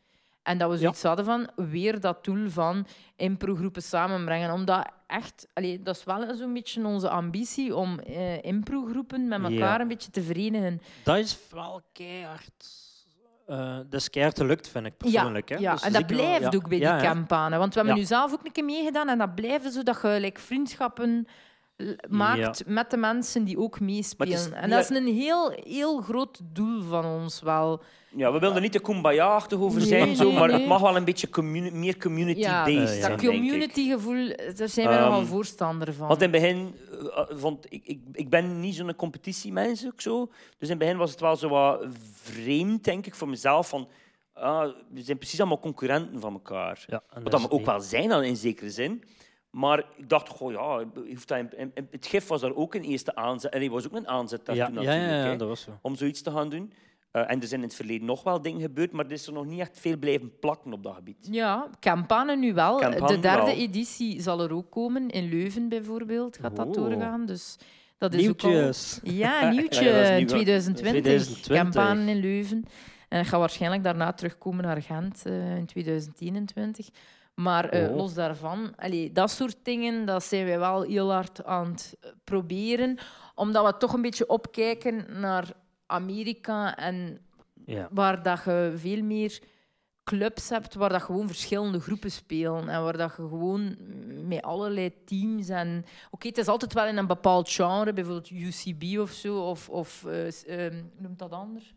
En dat we zoiets hadden van weer dat doel van improgroepen samenbrengen. Omdat echt, allee, dat is wel zo'n beetje onze ambitie om eh, improgroepen met
Ja.
elkaar een beetje te verenigen.
Dat is wel keihard. eh dat is keihard gelukt, vind ik persoonlijk.
ja,
hè.
ja.
Dus
en dat
zie ik wel-
blijft
ja.
ook bij
Ja,
die
hè.
campanen. Want we hebben
Ja.
nu zelf ook een keer meegedaan en dat blijft zo dat je like, vriendschappen l- maakt met de mensen die ook
Maar het is
meespelen. En
niet
dat is een heel, heel groot doel van ons wel.
Ja, we willen er niet te kumbaya-achtig over
Nee,
zijn,
nee,
zo, maar
nee. dus
het mag wel een beetje communi- meer community-based
Eh, ja.
zijn,
dat
denk ik.
communitygevoel, daar zijn wij
Ehm,
nogal voorstander van.
Want in het begin eh, eh, vond ik, ik, ik ben niet zo'n competitiemens ook zo. Dus in het begin was het wel zo wat vreemd, denk ik, voor mezelf. Van, ah, we zijn precies allemaal concurrenten van elkaar.
Ja, en dat
Wat dat
is
we ook
niet-
wel zijn dan in zekere zin. Maar ik dacht, goh ja, je hoeft dat in- in- in- het gif was daar ook een eerste aanzet. En er was ook een aanzet
Ja,
daartoe
ja, ja,
natuurlijk.
ja,
hè,
dat was zo.
om zoiets te gaan doen. Eh, en er zijn in het verleden nog wel dingen gebeurd, maar er is er nog niet echt veel blijven plakken op dat gebied.
Ja, campagne nu wel.
Campagne
de derde
wel.
editie zal er ook komen. In Leuven bijvoorbeeld gaat dat
Oh.
doorgaan. Dus dat is ook
Nieuwtjes.
al... Ja, nieuwtje.
Ja, ja, dat is nieuw, hè.
2020.
2020.
Campagne in Leuven. En ik ga waarschijnlijk daarna terugkomen naar Gent eh, in 2021. Maar eh,
Oh.
los daarvan, allee, dat soort dingen dat zijn wij wel heel hard aan het eh, proberen. Omdat we toch een beetje opkijken naar Amerika en
Ja.
waar dat je veel meer clubs hebt waar dat gewoon verschillende groepen spelen en waar dat je gewoon met allerlei teams en oké het is altijd wel in een bepaald genre bijvoorbeeld UCB of zo of, of eh, s- ehm, noemt dat anders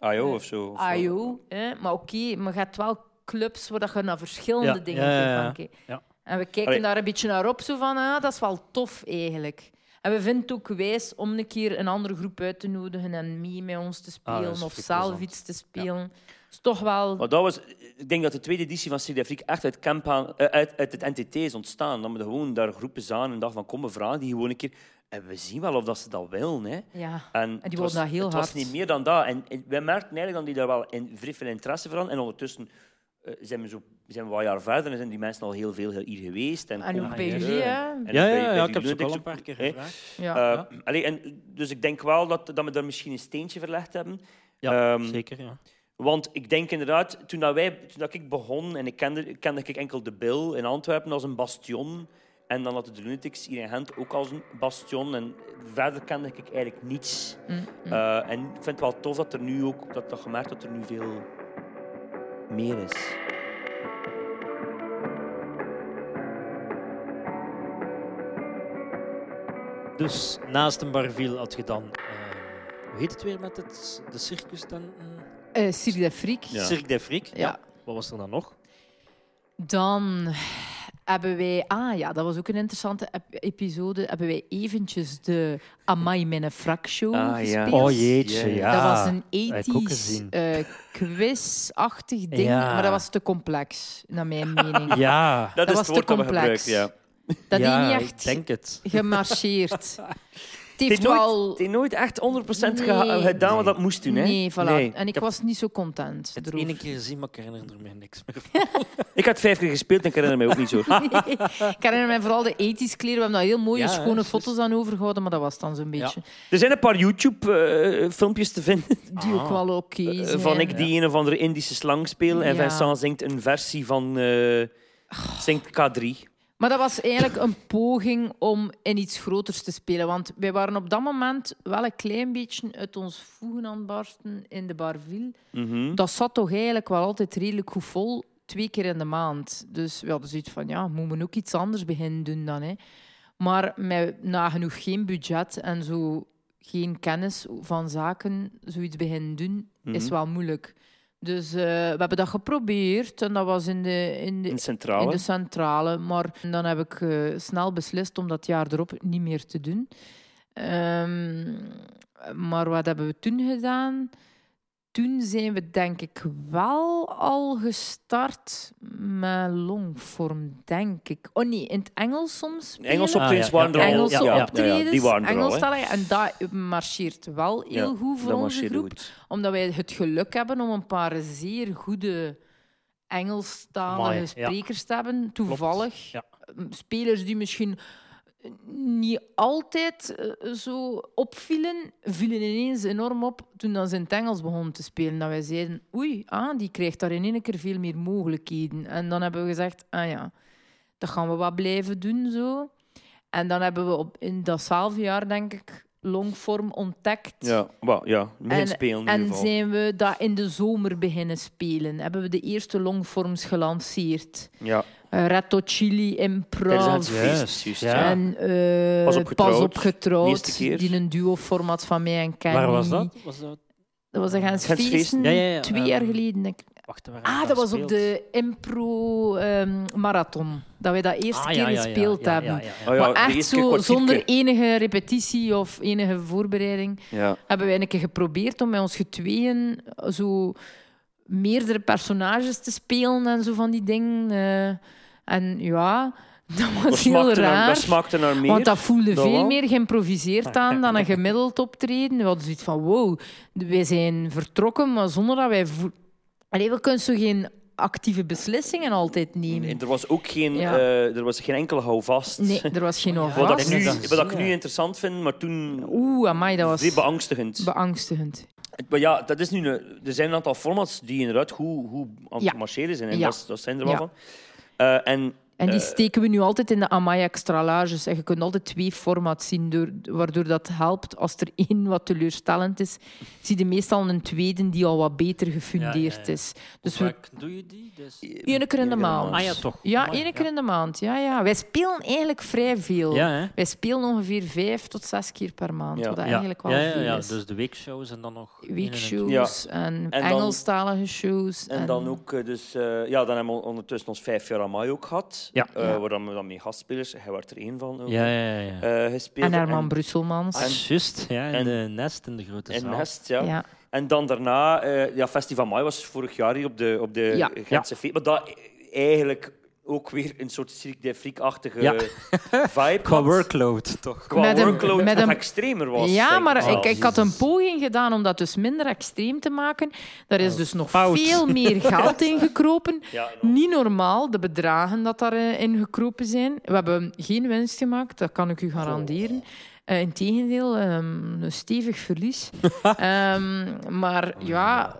IO Ah, of eh. zo.
eh,
Ah,
of zo.
IO hè? maar oké maar je hebt wel clubs waar dat je naar verschillende
Ja,
dingen
ja, ja,
kunt
ja.
gaan kijken.
Ja.
en we kijken
Allee.
daar een beetje naar op zo van ah dat is wel tof eigenlijk en we vinden het ook wijs om een keer een andere groep uit te nodigen en mee met ons te
Ah, dat is
spelen of
vrij
zelf
plezant.
iets te spelen. is toch wel
Maar dat was, ik denk dat de tweede editie van CD Afrika echt uit, Campaan- eh, uit, uit het NTT is ontstaan. Dat we gewoon daar groepen zagen en dachten van, kom, we vragen die gewoon een keer. En we zien wel of dat ze dat willen. Hè.
Ja.
En, het
wilden
was,
dat heel
het
hard.
was niet meer dan dat. En, en wij merkten eigenlijk dat die daar wel in, vrij veel interesse voor hadden. En ondertussen eh, zijn, we zo, zijn we wat jaar verder en zijn die mensen al heel veel hier geweest. En,
En
komen
ook bij
hier.
jullie, hè?
eh, En
Ja,
bij-
ja,
bij
ja,
die
ik heb ze ook al
lunatics
een paar keer
hè.
gevraagd.
Ja.
Eh, allee, en, dus ik denk wel dat, dat we daar misschien een steentje verlegd hebben.
Ja,
Ehm,
zeker. Ja.
Want ik denk inderdaad, toen, dat wij, toen dat ik begon en ik kende, kende ik enkel de Bill in Antwerpen als een bastion. En dan had de Lunatics hier in Gent ook als een bastion. En verder kende ik eigenlijk niets.
Mm,
Eh, en ik vind het wel tof dat er nu ook, dat, dat gemerkt dat er nu veel meer is.
Dus naast een barviel had je dan. eh, hoe heet het weer met het, de circus tenten?
Eh, Cirque d'Afrique.
Ja.
Cirque d'Afrique.
Ja.
Wat was er dan nog?
Dan hebben wij... Ah ja, dat was ook een interessante ep- episode. Hebben wij eventjes de Amai Menefrak Show
Ah, ja.
gespeeld.
Oh jeetje,
Ja.
ja.
Dat was een
heb ik ook
80s
gezien.
eh quiz-achtig ding.
Ja.
Maar dat was te complex, naar mijn mening.
Ja,
Dat,
was
is het
te
woord dat we
complex.
gebruiken. Ja.
Dat
ja,
is niet
Ik
echt
denk het.
gemarcheerd. Het
Het heeft
heeft
nooit,
wel...
het heeft nooit echt 100% geha- eh,
Nee.
gedaan wat dat moest doen. Hè?
Nee, voilà. Eh.
Nee.
En ik was niet zo content.
Het
erover.
ene keer gezien, maar ik herinner me niks meer.
Ik had vijf keer gespeeld en ik herinner mij ook
[LAUGHS]
niet zo. Ah,
ik herinner mij vooral de 80s kleren. We hebben daar heel mooie,
Ja, hè,
schone
juist.
foto's aan overgehouden, maar dat was dan zo'n beetje.
Er zijn een paar YouTube-filmpjes te vinden.
Die ook wel oké
Eh,
zijn.
van ik die een of andere Indische slang speel. En
Ja. Oh.
Vincent zingt een versie van. eh, zingt K3.
Maar dat was eigenlijk een poging om in iets groters te spelen. Want wij waren op dat moment wel een klein beetje uit ons voegen aan het barsten in de Barville.
Mhm.
Dat zat toch eigenlijk wel altijd redelijk goed vol, twee keer in de maand. Dus we hadden zoiets van, ja, moeten we ook iets anders beginnen doen dan. Hè. Maar met nagenoeg geen budget en zo geen kennis van zaken, zoiets beginnen doen, is wel moeilijk. Dus eh, we hebben dat geprobeerd en dat was in de, in de,
In Centrale.
in de centrale. Maar dan heb ik eh, snel beslist om dat jaar erop niet meer te doen. Ehm, maar wat hebben we toen gedaan? toen zijn we denk ik wel al gestart met longvorm, denk ik. Oh nee, in het Engels soms. spelen.
Engels
op-
optredens
Ah, ja, ja,
waren er al.
Engelse
ja, ja, ja,
optredens,
die waren er al. hè.
Engelstalige. En dat marcheert wel heel
Ja,
goed voor
dat
onze
marcheerde
groep.
goed.
Omdat wij het geluk hebben om een paar zeer goede Engelstalige
Amai, ja.
sprekers te hebben. Toevallig.
Ja.
Spelers die misschien eh, niet altijd eh, zo opvielen, vielen ineens enorm op toen dat ze in het Engels begonnen te spelen. Dat wij zeiden, oei, ah, die krijgt daar in één keer veel meer mogelijkheden. En dan hebben we gezegd, ah ja, dat gaan we wat blijven doen zo. En dan hebben we op, in datzelfde jaar, denk ik, longvorm ontdekt.
Ja, wel, ja. Begin
En-
spelen in ieder
En
geval.
zijn we dat in de zomer beginnen spelen? Hebben we de eerste longforms gelanceerd?
Ja,
Eh, Red Hot Chili
tijdens
Improv.
het
Juist,
feest. juist,
ja.
ja.
En eh,
Pas op getrouwd.
Pas op getrouwd,
De eerste keer.
Die een duo-format van mij en Kenny.
Waar was dat? Was dat
Dat was een Gens
Gens Feesten.
Feesten,
Ja, ja, ja,
twee
ehm,
jaar geleden. denk ik.
wacht, waar hebben
Ah,
we
dat was op
gespeeld?
de impro-marathon. dat wij dat eerste
Ah,
keer
ja, ja, ja,
gespeeld
ja,
hebben.
Ja, ja, ja.
Oh ja,
maar
de
echt
eerste keer
zo,
kwartiertje.
zonder enige repetitie of enige voorbereiding
Ja.
hebben wij een keer geprobeerd om met ons getweeën zo meerdere personages te spelen en zo van die dingen. eh. en ja, [LAUGHS] dat was
Dat
heel
smaakte naar-
raar.
Dat smaakte naar meer.
want dat voelde
dat
veel
wel. Ah,
meer geïmproviseerd aan dan een gemiddeld optreden. We hadden zoiets van, wow, wij zijn vertrokken, maar zonder dat wij... vo- Allee, we kunnen zo geen actieve beslissingen altijd nemen.
En er was ook geen,
Ja.
eh, er was geen enkele houvast.
Nee, er was geen
Wat
[LAUGHS] Wat,
Ik
ik
alvast.
denk
nu,
Ah, dat-
wat ik
ja.
nu interessant vind, maar toen
Oeh, amai, dat
zeer
was
beangstigend.
beangstigend.
maar ja, dat is nu een- er zijn een aantal formats die inderdaad goed, goed aan het
Ja.
marcheren zijn. En
Ja.
dat, dat zijn er wel
Ja.
van. Eh, en
En die
Eh,
steken we nu altijd in de Amaya Extra Larges. En je kunt altijd twee formats zien, door, waardoor dat helpt. Als er [LAUGHS] één wat teleurstellend is, zie je meestal een tweede die al wat beter gefundeerd
Ja, ja, ja.
is.
Hoe
Dus we
vaak doe je die? Dus...
één keer in de maand.
Ah ja, toch.
Ja,
Amai,
één keer in de maand. Ja, ja. Wij spelen eigenlijk vrij veel.
Ja, hè?
Wij spelen ongeveer vijf tot zes keer per maand,
Ja.
wat
Ja.
eigenlijk wel
ja, ja,
veel
ja.
is.
Dus de weekshows en dan nog...
Weekshows en,
dan-
Engelstalige shows.
En dan ook, eh, dus, eh, ja, dan hebben we ondertussen ons vijf jaar Amai ook gehad.
Ja.
Eh,
Ja.
Waar dan we dan mee gastspelers, hij werd er één van, ook,
Ja, ja, ja. ja.
eh, gespeeld.
en Herman Brusselmans.
Ah, juist, ja, in
en-
de nest in de grote
en
zaal.
Nest, ja.
ja.
En dan daarna, eh, ja, Festival Mai was vorig jaar hier op de, op de
Ja.
Gentse Feest. Maar dat eigenlijk ook weer een soort Cirque de Freak-achtige
Ja.
vibe
Qua
had.
workload, toch?
Qua
Met een-
workload
met
nog
een-
extremer was.
Ja,
denk
maar
wel.
ik, ik had een poging gedaan om dat dus minder extreem te maken. Daar
Oh,
is dus nog
fout.
veel
[LAUGHS]
meer geld in gekropen.
Ja, en
Niet normaal, de bedragen dat daarin gekropen zijn. We hebben geen winst gemaakt, dat kan ik u garanderen. Eh, Integendeel, ehm, een stevig
[LAUGHS]
verlies. Ehm, maar ja,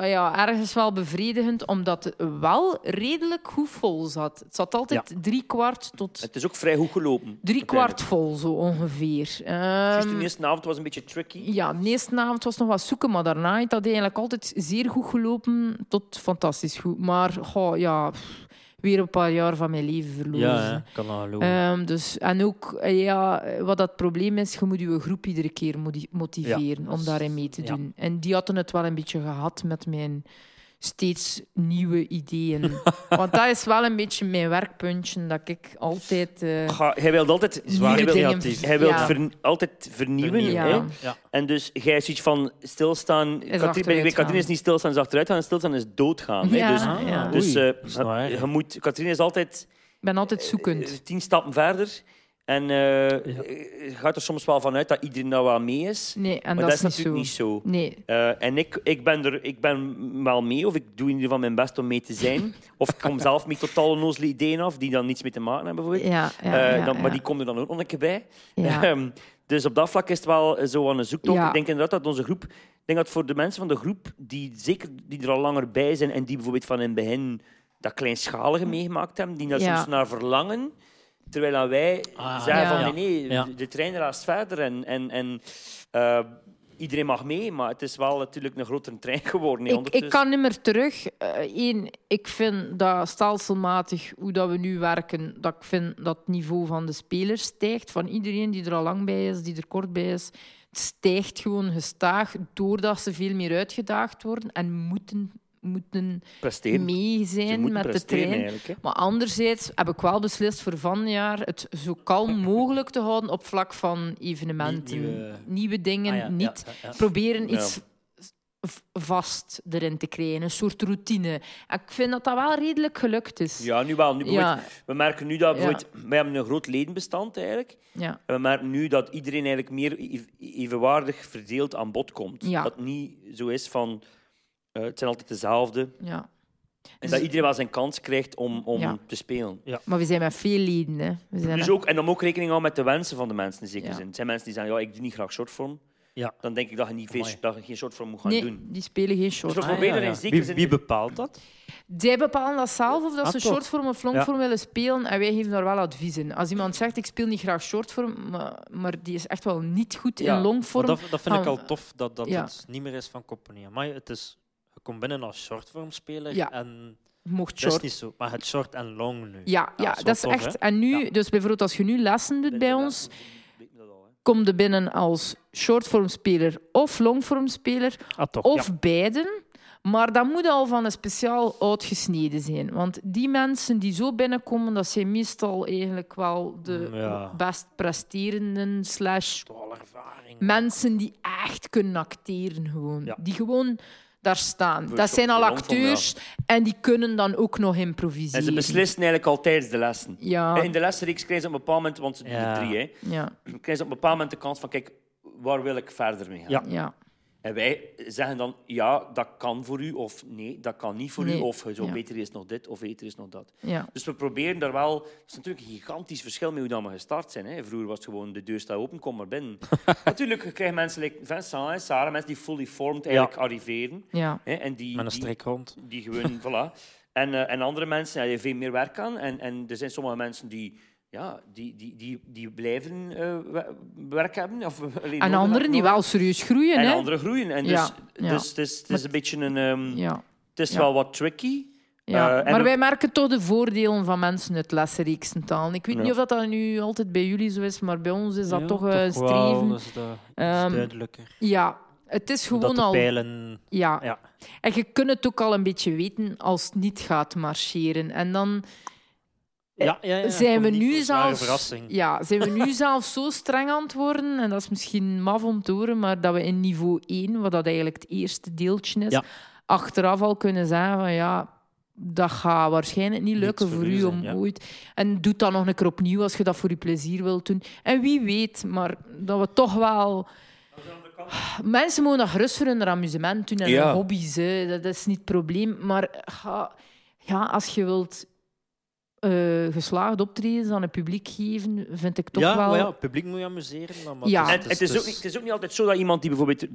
ja, ergens wel bevredigend, omdat het wel redelijk goed vol zat. Het zat altijd drie kwart tot
Het is ook vrij goed gelopen.
drie kwart vol, zo ongeveer.
Juist
Ehm,
de eerste avond was een beetje tricky.
ja, de eerste avond was nog wat zoeken, maar daarna heeft dat eigenlijk altijd zeer goed gelopen. Tot fantastisch goed. Maar goh, ja, pff, weer een paar jaar van mijn leven verloren.
Ja, hè. kan al lopen.
Ehm, dus, en ook, eh, ja, eh, wat dat probleem is, je moet je groep iedere keer moti- motiveren om daarin mee te
ja.
doen. En die hadden het wel een beetje gehad met mijn steeds nieuwe
[LAUGHS]
ideeën. Want dat is wel een beetje mijn werkpuntje, dat ik altijd... eh,
Ga- Hij wilde altijd
Zwaar
hij wil-
creatief.
Hij wil
Ja.
altijd vernieuwen.
Ja.
Hè?
Ja.
ah,
En dus jij is iets van stilstaan. Katrien, bij- bij
achteruit
Katrien is
gaan.
niet stilstaan, is achteruit gaan. En stilstaan is doodgaan.
Ja,
Hè? Dus,
Ah,
ja.
dus
oei,
eh,
dat is nou
je-
erg.
je moet, Katrien is altijd
ik ben altijd
eh,
zoekend.
tien stappen verder. En eh, je gaat er soms wel vanuit dat iedereen daar wel mee is.
Nee, en
maar
dat is niet
natuurlijk
zo.
niet zo.
Nee,
Eh, en ik, ik, ben er, ik ben wel mee, of ik doe in ieder geval mijn best om mee te
[LAUGHS]
zijn. of ik kom zelf met totaal onnozele ideeën af, die dan niets mee te maken hebben. Bijvoorbeeld.
ja, ja,
Eh,
ja,
dan-
ja.
Maar die komen er dan ook nog een keer bij. [LAUGHS]
Ja.
Ehm, dus op dat vlak is het wel eh, zo aan een zoektocht.
Ja.
Ik denk inderdaad dat onze groep... Ik denk dat voor de mensen van de groep, die, zeker, die er al langer bij zijn en die bijvoorbeeld van in het begin dat kleinschalige meegemaakt hebben, die daar
Ja.
soms naar verlangen, terwijl dan wij
Ah,
zeggen
ja.
van nee, nee,
Ja.
de- de trein raast verder en, en, en eh, iedereen mag mee, maar het is wel natuurlijk een grotere trein geworden. hè,
Ik, ik
ondertussen.
kan niet meer terug. Eén, ik vind dat stelselmatig, hoe dat we nu werken, dat ik vind dat het niveau van de spelers stijgt. Van iedereen die er al lang bij is, die er kort bij is. Het stijgt gewoon gestaag, doordat ze veel meer uitgedaagd worden en moeten, moeten
presteren.
mee
Ze
zijn
moeten
met de
presteren
trein.
eigenlijk. hè.
Maar anderzijds heb ik wel beslist voor van jaar het zo kalm mogelijk te houden op vlak van evenementen.
Nieuwe-
Nieuwe dingen
Ah, ja,
niet
ja, ja, ja.
proberen iets v- vast erin te krijgen, een soort routine. En ik vind dat dat wel redelijk gelukt is.
Ja, nu wel. Nu, bijvoorbeeld-
ja,
We merken nu dat...
Ja.
bijvoorbeeld- Wij hebben een groot ledenbestand eigenlijk.
ja.
En we merken nu dat iedereen eigenlijk meer ev- evenwaardig verdeeld aan bod komt.
Ja.
Dat het niet zo is van... eh, het zijn altijd dezelfde.
ja.
En dat iedereen wel zijn kans krijgt om, om
Dus Ja.
te spelen.
Maar we zijn met veel leden. Hè. We zijn
Dus ook, en om ook rekening te houden met de wensen van de mensen in zekere
Ja.
zin. Het zijn mensen die zeggen, ja, ik doe niet graag shortform.
Ja.
Dan denk ik dat je, niet veel,
Amai.
dat je geen shortform moet gaan
nee,
doen.
die spelen geen
Dus
short.
we proberen in zekere
Ah, Wie,
zin...
wie bepaalt dat?
Zij bepalen dat zelf of dat
Ah,
ze
toch?
shortvorm of longvorm willen spelen en wij geven daar wel advies in. Als iemand zegt ik speel niet graag shortvorm, maar, maar die is echt wel niet goed
Ja,
in
Want
longvorm.
dat, dat vind ik
gaan
al
we-
tof, dat, dat
Ja.
het niet meer is van compagnie. Maar het is, je komt binnen als shortvormspeler
Ja.
en
Mocht
dat is
short.
niet zo. Maar het short en long nu.
Ja, ja,
dat is
dat
wel
is
tof,
echt.
hè?
En nu,
Ja.
dus bijvoorbeeld als je nu lessen doet bij ons, kom je binnen als shortvormspeler of longvormspeler
Ah, toch.
of beiden. Maar dat moet al van een speciaal uitgesneden zijn. Want die mensen die zo binnenkomen, dat zijn meestal eigenlijk wel de
Mm, Ja.
best presterenden slash
Al ervaring.
mensen die echt kunnen acteren gewoon.
Ja.
Die gewoon daar staan. Dat
Workshop
zijn al
voor Ron van
acteurs en die kunnen dan ook nog improviseren.
En ze beslissen eigenlijk al tijdens de lessen.
Ja,
In de lessenreeks krijgen ze op een bepaald moment, want ze doen
Ja.
er drie, hè,
ja,
krijgen ze op een bepaald moment de kans van, kijk, waar wil ik verder mee gaan?
Ja.
ja.
En wij zeggen dan, ja, dat kan voor u, of nee, dat kan niet voor u,
Nee,
of zo
ja.
beter is nog dit, of beter is nog dat.
ja.
Dus we proberen daar wel... Het is natuurlijk een gigantisch verschil met hoe dat we gestart zijn. Hè. Vroeger was het gewoon, de deur staat open, kom maar
[LAUGHS]
binnen. natuurlijk krijgen mensen, like Vincent en Sarah, mensen die fully formed eigenlijk arriveren.
ja.
Hè, en die,
Met een
die-
strik rond.
die
[LAUGHS]
gewoon, voilà. En, eh, en andere mensen, ja, je veel meer werk aan. En, en er zijn sommige mensen die, ja, die, die, die, die blijven eh, we- werk hebben. Of [LAUGHS] alleen
En
nodig
anderen
hebben.
die wel serieus groeien.
En
hè?
anderen groeien. En dus,
Ja, ja.
dus het is, het is een beetje een... ehm,
Ja.
Het is
Ja.
wel wat tricky.
Ja,
Eh, en
maar
ook-
wij merken toch de voordelen van mensen uit lessenreeksen taal. Ik weet
Ja.
niet of dat dan nu altijd bij jullie zo is, maar bij ons is dat
Ja,
toch eh
wel,
streven.
dat is, de- dat is
Ehm,
duidelijker.
Ja, het is
Dat
gewoon
de
al...
pijlen...
Ja.
Ja.
En je kunt het ook al een beetje weten als het niet gaat marcheren. En dan
Ja, ja, ja,
Eh, zijn, we
komt niet voor
nu
een zware
zelfs,
verrassing.
ja, zijn we
[LAUGHS]
nu zelfs zo streng aan het worden, en dat is misschien maf om te horen, maar dat we in niveau 1, wat dat eigenlijk het eerste deeltje is,
Ja.
achteraf al kunnen zeggen van ja, dat gaat waarschijnlijk niet
Niets
lukken
voor
voor
u
u
zijn,
om
ja.
ooit. En doe dat nog een keer opnieuw als je dat voor je plezier wilt doen. En wie weet, maar dat we toch wel... Mensen mogen dat gerust voor hun amusement doen en
Ja.
hun hobby's. Hè. Dat is niet het probleem. Maar ga- ja, als je wilt eh, geslaagd optreden aan het publiek geven, vind ik toch
ja,
wel...
maar ja, het publiek moet je amuseren. Dan, maar
Ja.
En Ah, het, is dus ook
dus-
niet, het is ook niet altijd zo dat iemand die bijvoorbeeld er,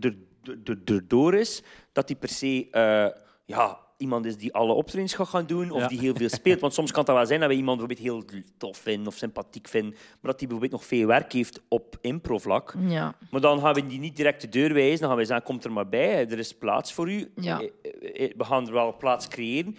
er, er- erdoor is, dat die per se eh, ja, iemand is die alle optredens gaat gaan doen of
Ja.
die heel veel speelt. Want soms kan het wel zijn dat we iemand bijvoorbeeld heel tof vinden of sympathiek vinden, maar dat die bijvoorbeeld nog veel werk heeft op
Mm.
improvlak.
Ja,
Maar dan gaan we die niet direct de deur wijzen, dan gaan we zeggen, kom er maar bij, er is plaats voor u.
Ja.
Eh, eh, eh, We gaan er wel plaats creëren.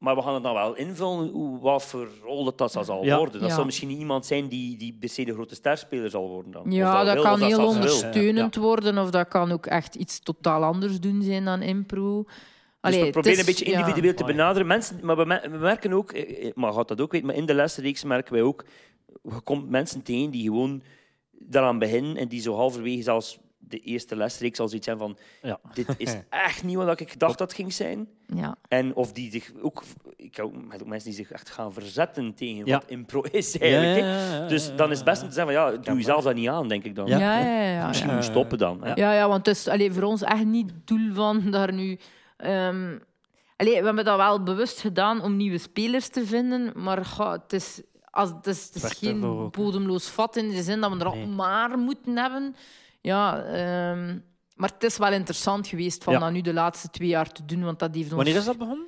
Maar we gaan het dan wel invullen, hoe, wat voor rol dat, dat zal
Ja.
worden. Dat
Ja.
zal misschien niet iemand zijn die, die per se de grote sterspeler zal worden. Dan. Of
ja dat,
wil, of
kan
dat
heel
zelfs wil.
ondersteunend worden of dat kan ook echt iets totaal anders doen zijn dan impro.
Dus
Allee,
we
het
proberen
is-
een beetje
ja.
individueel te
Mooi.
benaderen. Mensen, maar we, mer- we merken ook, eh, eh, maar gaat dat ook weten, maar in de lesreeks merken wij ook, je komt mensen tegen die gewoon daaraan beginnen en die zo halverwege zelfs de eerste lesreeks al zoiets zijn van
Ja.
dit
[LAUGHS]
is echt niet wat ik gedacht dat ging zijn.
Ja.
En of die zich ook, ik heb ook met ook mensen die zich echt gaan verzetten tegen
Ja.
wat impro is eigenlijk. hè. Dus dan is het best om te zeggen van ja, doe
maar.
jezelf dat niet aan, denk ik dan.
Ja, ja, ja, ja.
Misschien moet je stoppen dan. hè.
Ja, ja want het is allee, voor ons echt niet het doel van daar nu. ehm, allee, we hebben dat wel bewust gedaan om nieuwe spelers te vinden, maar goh, het is, als, het is, het is
Werkt
geen
daarvoor ook, hè?
bodemloos vat in de zin dat we er al
Nee.
maar moeten hebben. Ja, ehm, maar het is wel interessant geweest van
Ja.
dat nu de laatste twee jaar te doen, want dat heeft ons.
Wanneer is dat begonnen?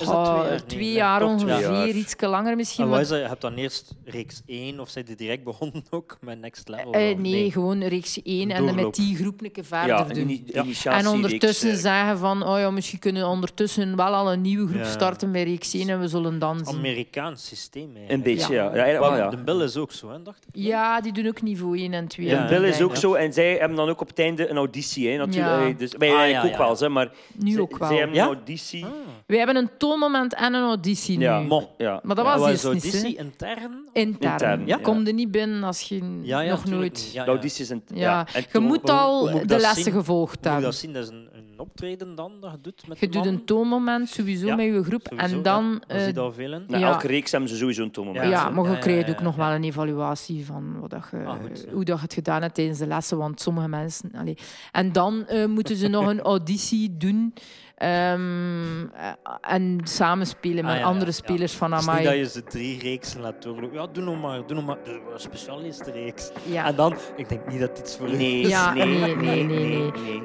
Is dat
Goh,
twee jaar? Nee,
twee
nee,
jaar
toch twee
ongeveer,
jaar.
iets langer misschien.
En
maar-
Ah, wat is dat? Je hebt dan eerst reeks 1 of zijn die direct begonnen ook met Next Level?
eh,
dan?
nee, gewoon reeks één en dan met
Doorloop.
die groep een keer verder
Ja,
doen.
ini-
Ja.
initiatiereeks,
En ondertussen
eh,
zeggen van, oh ja, misschien kunnen we ondertussen wel al een nieuwe groep
Ja.
starten bij reeks 1 en we zullen dan
Ah,
zien.
Amerikaans systeem.
Een
Eigenlijk.
beetje, ja. ja. ja, oh,
Want
ja, ja.
De Bill is ook zo, hè, dacht ik.
Ja, die doen ook niveau 1 en 2.
Ja,
Bill is
denk
ook
ik.
zo. En zij hebben dan ook op het einde een auditie. Hè, natuurlijk.
Ja.
Eh, Dus, wij
Ah,
eigenlijk
ja,
ook
ja.
wel, hè, maar
Nu
zij-
ook wel.
zij hebben
Ja? Ah.
een auditie.
We hebben een toonmoment en een auditie
Ja.
nu.
Mo.
Ja.
Maar dat
Ja,
was
wat
eerst
is
niet, hè.
Odyssey intern?
Intern.
Intern, ja.
Kom er niet binnen als je
Ja, ja,
nog
tuurlijk
nooit...
Nou,
niet. Ja,
De audities en,
Ja.
ja. en
je
toen-
moet
hoe-
al
hoe moet ik
de
dat
lessen
zien?
gevolgd
Hoe moet je
hebben.
dat zien? Dat is een, een optreden dan dat je doet met
Je doet
mannen?
een toonmoment sowieso
Ja,
met je groep
sowieso,
en dan...
Dat zie
eh,
je al veel in.
Na
Ja.
elke reeks hebben ze sowieso een toonmoment.
ja,
Ja, zo.
maar
Ja,
je
ja,
krijgt
ja,
ook nog
ja.
wel een evaluatie van wat dat je,
Ah, goed, ja.
hoe dat je het gedaan hebt tijdens de lessen. Want sommige mensen... Allee. En dan eh, moeten ze
[LAUGHS]
nog een auditie doen ehm, eh, en samenspelen met
Ah, ja, ja,
andere
ja.
spelers van
Het is niet
Amai.
dat je ze drie reeksen laat doorlopen. Ja, doe nog maar, doe nog maar. Doe een specialistenreeks.
Ja.
En dan, ik denk niet dat dit iets voor u
Nee,
is.
Ja,
nee,
nee, nee, nee, nee.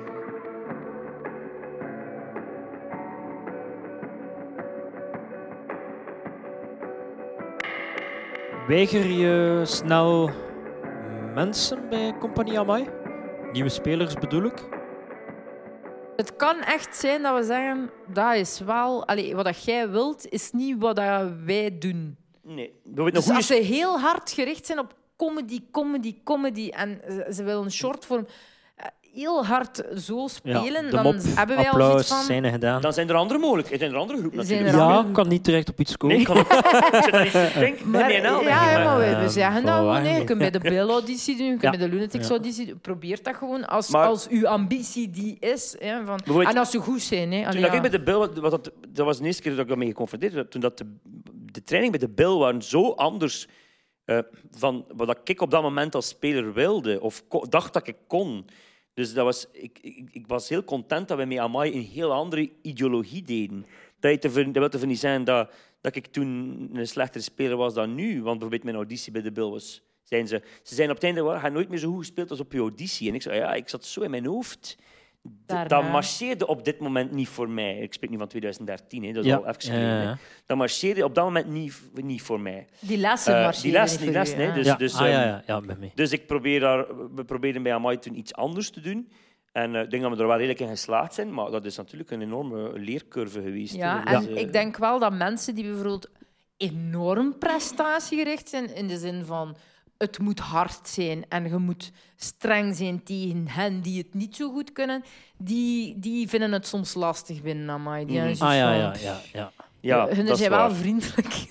Weiger je snel mensen bij Compagnie Amai? Nieuwe spelers bedoel ik?
Het kan echt zijn dat we zeggen, dat is wel... Allee, wat dat jij wilt, is niet wat dat wij doen.
Nee. We weten
Dus
nog
als ze heel hard gericht zijn op comedy, comedy, comedy en ze, ze willen een shortvorm eh, heel hard zo spelen,
de
dan
mop,
hebben wij al
applaus,
zoiets van...
scène gedaan.
Dan zijn er andere mogelijkheden. Zijn er andere groepen
Zijn
natuurlijk.
er
Ja,
andere-
kan niet direct op iets komen.
Nee, ik kan
[LAUGHS]
ook- ik zit daar niet te denken.
Maar-
Nee, nou,
ja,
nee,
ja, maar we, we
Eh,
zeggen dat gewoon.
voilà.
hè. Je kunt bij
[LAUGHS]
de Bill auditie doen, je kunt
Ja.
bij de Lunatics
Ja.
auditie doen. Probeer dat gewoon als,
Maar-
als uw ambitie die is. Hè, van,
Bijvoorbeeld-
en als ze goed zijn. Hè,
Toen
Allee,
dat
ja.
ik bij de Bill, wat dat, dat was de eerste keer dat ik daarmee geconfronteerd werd. Toen dat de, de training bij de Bill waren zo anders eh, van wat dat ik op dat moment als speler wilde of ko- dacht dat ik kon. Dus dat was, ik, ik, ik was heel content dat we met Amai een heel andere ideologie deden. Dat, je te ver- dat wil ervan niet zijn dat, dat ik toen een slechtere speler was dan nu. Want bijvoorbeeld mijn auditie bij de Bill was... Zijn ze, ze zijn op het einde, "Wel, ga nooit meer zo goed gespeeld als op je auditie. En ik zei, ja, ik zat zo in mijn hoofd. D- Dat
Daarna.
marcheerde op dit moment niet voor mij. Ik spreek nu van 2013, hè, dat is
Ja.
al even geleden. hè.
Ja.
Dat marcheerde op dat moment niet, niet voor mij.
Die lessen
Eh,
marcheren
die lessen,
niet
die
voor
lessen,
u,
hè,
ja.
dus-
ja, ah,
ehm,
ja, ja, ja, bij mij.
Dus ik probeer daar, we proberen bij Amai toen iets anders te doen. En eh, ik denk dat we er wel redelijk in geslaagd zijn, maar dat is natuurlijk een enorme leercurve geweest.
Ja,
hè. Dus,
en
eh,
ik denk wel dat mensen die bijvoorbeeld enorm prestatiegericht zijn, in de zin van het moet hard zijn en je moet streng zijn tegen hen die het niet zo goed kunnen, die, die vinden het soms lastig binnen Amai.
Mm.
Die hebben
Ah
zoiets
ja,
van,
ja, ja.
[LAUGHS]
ja.
ja,
hun
dat is
zijn
waar.
wel vriendelijk. [LAUGHS]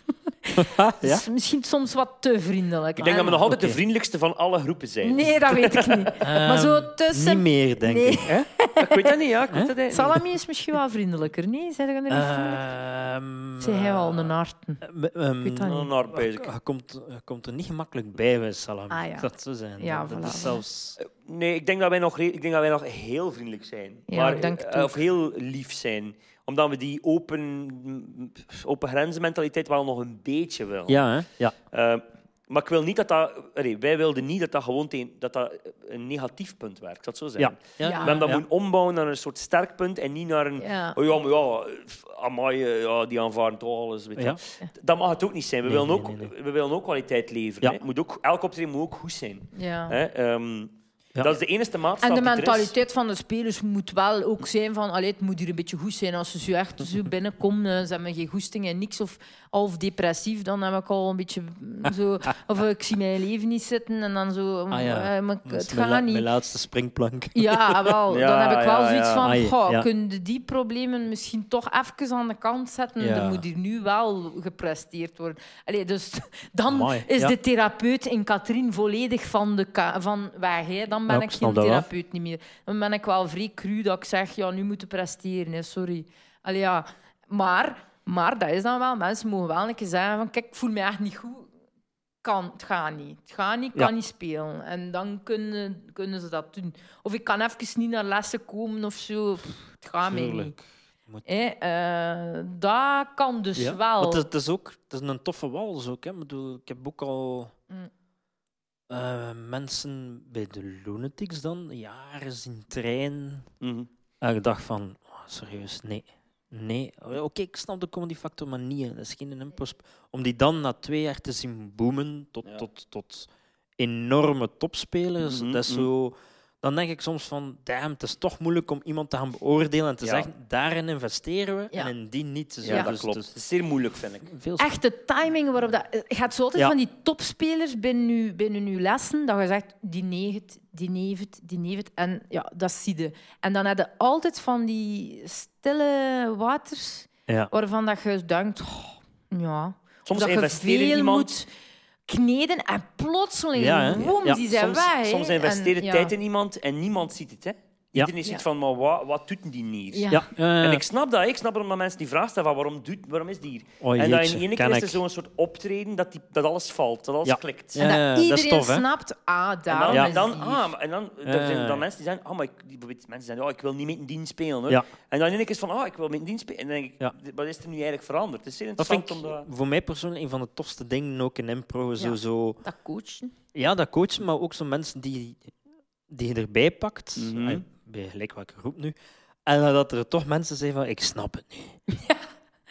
Ja?
Dus misschien soms wat te vriendelijk. Ah,
Ik denk dat we nog altijd de
Oké.
vriendelijkste van alle groepen zijn.
Nee, dat weet ik
[LAUGHS]
niet. maar
Ehm,
zo tussen...
Ehm, Niet meer, denk
Nee.
ik.
[LAUGHS]
Hè?
Ik weet dat niet, ja. Ik weet dat niet.
Salami is misschien wel vriendelijker. Nee, zijn er niet vriendelijk?
Ehm,
Zijn jij wel een
eh,
harten?
m- ehm,
weet dat niet.
Een narp,
je,
eigenlijk.
je komt, je komt er niet gemakkelijk bij bij salami.
Ah, ja.
Dat zou zijn.
Ja,
dat, dat
voilà,
is
voilà.
zelfs...
Nee, ik denk dat wij nog, re- ik denk dat wij nog heel vriendelijk zijn.
Ja,
maar,
ik denk het
eh,
ook.
Of heel lief zijn. Omdat we die open, open grenzenmentaliteit wel nog een beetje willen.
Ja, hè? Ja.
Eh, maar ik wil niet dat dat... allee, wij wilden niet dat dat gewoon tegen, dat dat een negatief punt werkt. Dat zo zijn.
Ja. Ah,
Ja.
We hebben dat
Ja.
moeten ombouwen naar een soort sterk punt en niet naar een...
Ja.
Oh ja, maar ja, pff, amai, eh, ja, die aanvaarden toch alles. Weet je.
Ja.
Dat mag het ook niet zijn. We,
Nee,
willen,
nee,
ook,
nee,
we willen ook kwaliteit leveren.
Ja.
hè. Het Moet ook, elk optreden moet ook goed zijn.
Ja.
Hè, ehm,
Ja.
Dat is de enige maatstaf
En de
die er is.
mentaliteit van de spelers moet wel ook zijn van... Allee, het moet hier een beetje goed zijn. Als ze zo echt
[LAUGHS]
zo binnenkomen, eh, ze hebben geen goesting en niks. Of half depressief, dan heb ik al een beetje mm,
[LAUGHS]
zo... Of eh, ik zie mijn leven niet zitten en dan zo... mm,
Ah, ja.
eh, maar ik-
Dat is
het
mijn, la-
gaat
mijn
niet.
laatste springplank.
Ja,
[LAUGHS]
wel.
Ja,
dan heb ik wel
ja,
zoiets
ja.
van...
Ah, ja,
goh,
ja.
kunnen die problemen misschien toch even aan de kant zetten?
Ja.
Er moet hier nu wel gepresteerd worden. Allee, dus [LAUGHS] dan
Amai,
is
ja.
de therapeut in Katrien volledig van, de ka- van weg. Hè. Dan ben
Ja, ik
ik
snap
geen
dat wel.
therapeut niet meer. Dan ben ik wel vrij cru dat ik zeg... Ja, nu moeten presteren, hè, sorry. Allee, ja. Maar, maar dat is dan wel... Mensen mogen wel een keer zeggen van... Kijk, ik voel me echt niet goed kan, het gaat niet. Het gaat niet, kan
Ja.
niet spelen. En dan kunnen, kunnen ze dat doen. Of ik kan even niet naar lessen komen of zo. Pff, het gaat mij niet.
Tuurlijk.
Hè, eh, dat kan dus
Ja.
wel.
Want het, het is ook het is een toffe wals ook. Hè. Ik, bedoel, ik heb ook al
Mm.
eh, mensen bij de Lunatics dan jaren zien trainen.
Mhm.
En ik dacht van, oh, serieus, nee. Nee, oké, ik snap de comedy factor, maar niet. hè. Dat is geen impuls. Om die dan na twee jaar te zien boomen tot,
Ja.
tot, tot enorme topspelers,
Mhm,
dat is
mhm.
zo... Dan denk ik soms van, damn, het is toch moeilijk om iemand te gaan beoordelen en te
Ja.
zeggen, daarin investeren we
Ja.
en in die niet. Zo,
Ja,
Ja.
dat
dus-
klopt.
dus
Het is zeer moeilijk, vind ik.
veel
Echt de timing waarop dat... Het gaat zo altijd
Ja.
van die topspelers binnen uw, binnen uw lessen, dat je zegt, die neeft, die neeft, die neeft. En ja, dat zie je. En dan heb je altijd van die stille waters,
Ja.
waarvan dat je denkt, "Goh, ja...
Soms
dat je
investeren
veel
iemand...
moet kneden en plotseling,
Ja, hè?
woem,
Ja.
die zijn
soms,
weg. hè.
soms
En,
investeren
ja.
tijd in iemand en niemand ziet het. Hè?
Ja.
Iedereen is iets van, maar wat, wat doet die hier?
Ja.
Ja, eh,
En ik snap dat. Ik snap dat mensen die vraag stellen van waarom, doet, waarom is die hier?
oh,
en dat
jeetje,
in één
ken
keer is
ik.
er zo'n soort optreden dat, die, dat alles valt, dat alles
Ja.
klikt.
Ja,
en
ja,
dat
dat is
iedereen
tof, hè?
snapt, ah,
En
daarom
dan, en dan,
is die hier.
ah, maar- en dan, er zijn
Eh.
dan mensen die zeggen, ah, maar ik, die, bijvoorbeeld mensen zeggen, ja, ik wil niet met een dienst spelen. Hoor.
Ja.
En dan in één keer is van, ah, ik wil met een dienst spelen. En dan denk ik,
Ja.
d- wat is er nu eigenlijk veranderd? Het is zeer
Dat
interessant
vind ik
om dat...
voor mij persoonlijk een van de tofste dingen ook in impro. Zo,
Ja.
zo,
Dat coachen.
ja, dat coachen, maar ook zo mensen die, die je erbij pakt,
Mhm.
eh, bij gelijk welke groep nu, en dat er toch mensen zijn van, ik snap het niet.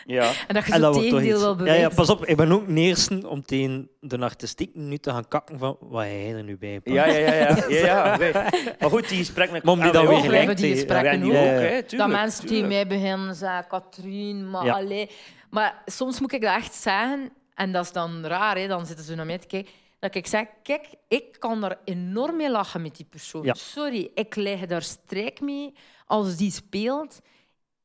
Ja.
En dat je
en
zo'n
dat wordt toch
tegendeel
iets.
wel
ja,
bewijst.
ja, pas op, ik ben ook neersen om tegen de artistiek nu te gaan kakken van wat jij er nu bij pakt.
Ja, ja, ja. ja, ja, ja oké. Maar goed, die gesprekken... met-
Maar om die
Ah,
dan
wij
weer
ook,
gelijk
hebben die
te-
hè. Wij
gesprekken
die
ook.
ook,
Ja, ja.
hè. Tuurlijk,
dat mensen
tuurlijk.
die mij beginnen zeggen, Katrien, maar
Ja.
allee. Maar soms moet ik dat echt zeggen, en dat is dan raar, hè, dan zitten ze naar mij te kijken, dat ik zeg, kijk, ik kan er enorm mee lachen met die persoon.
Ja.
Sorry, ik leg daar strijk mee als die speelt.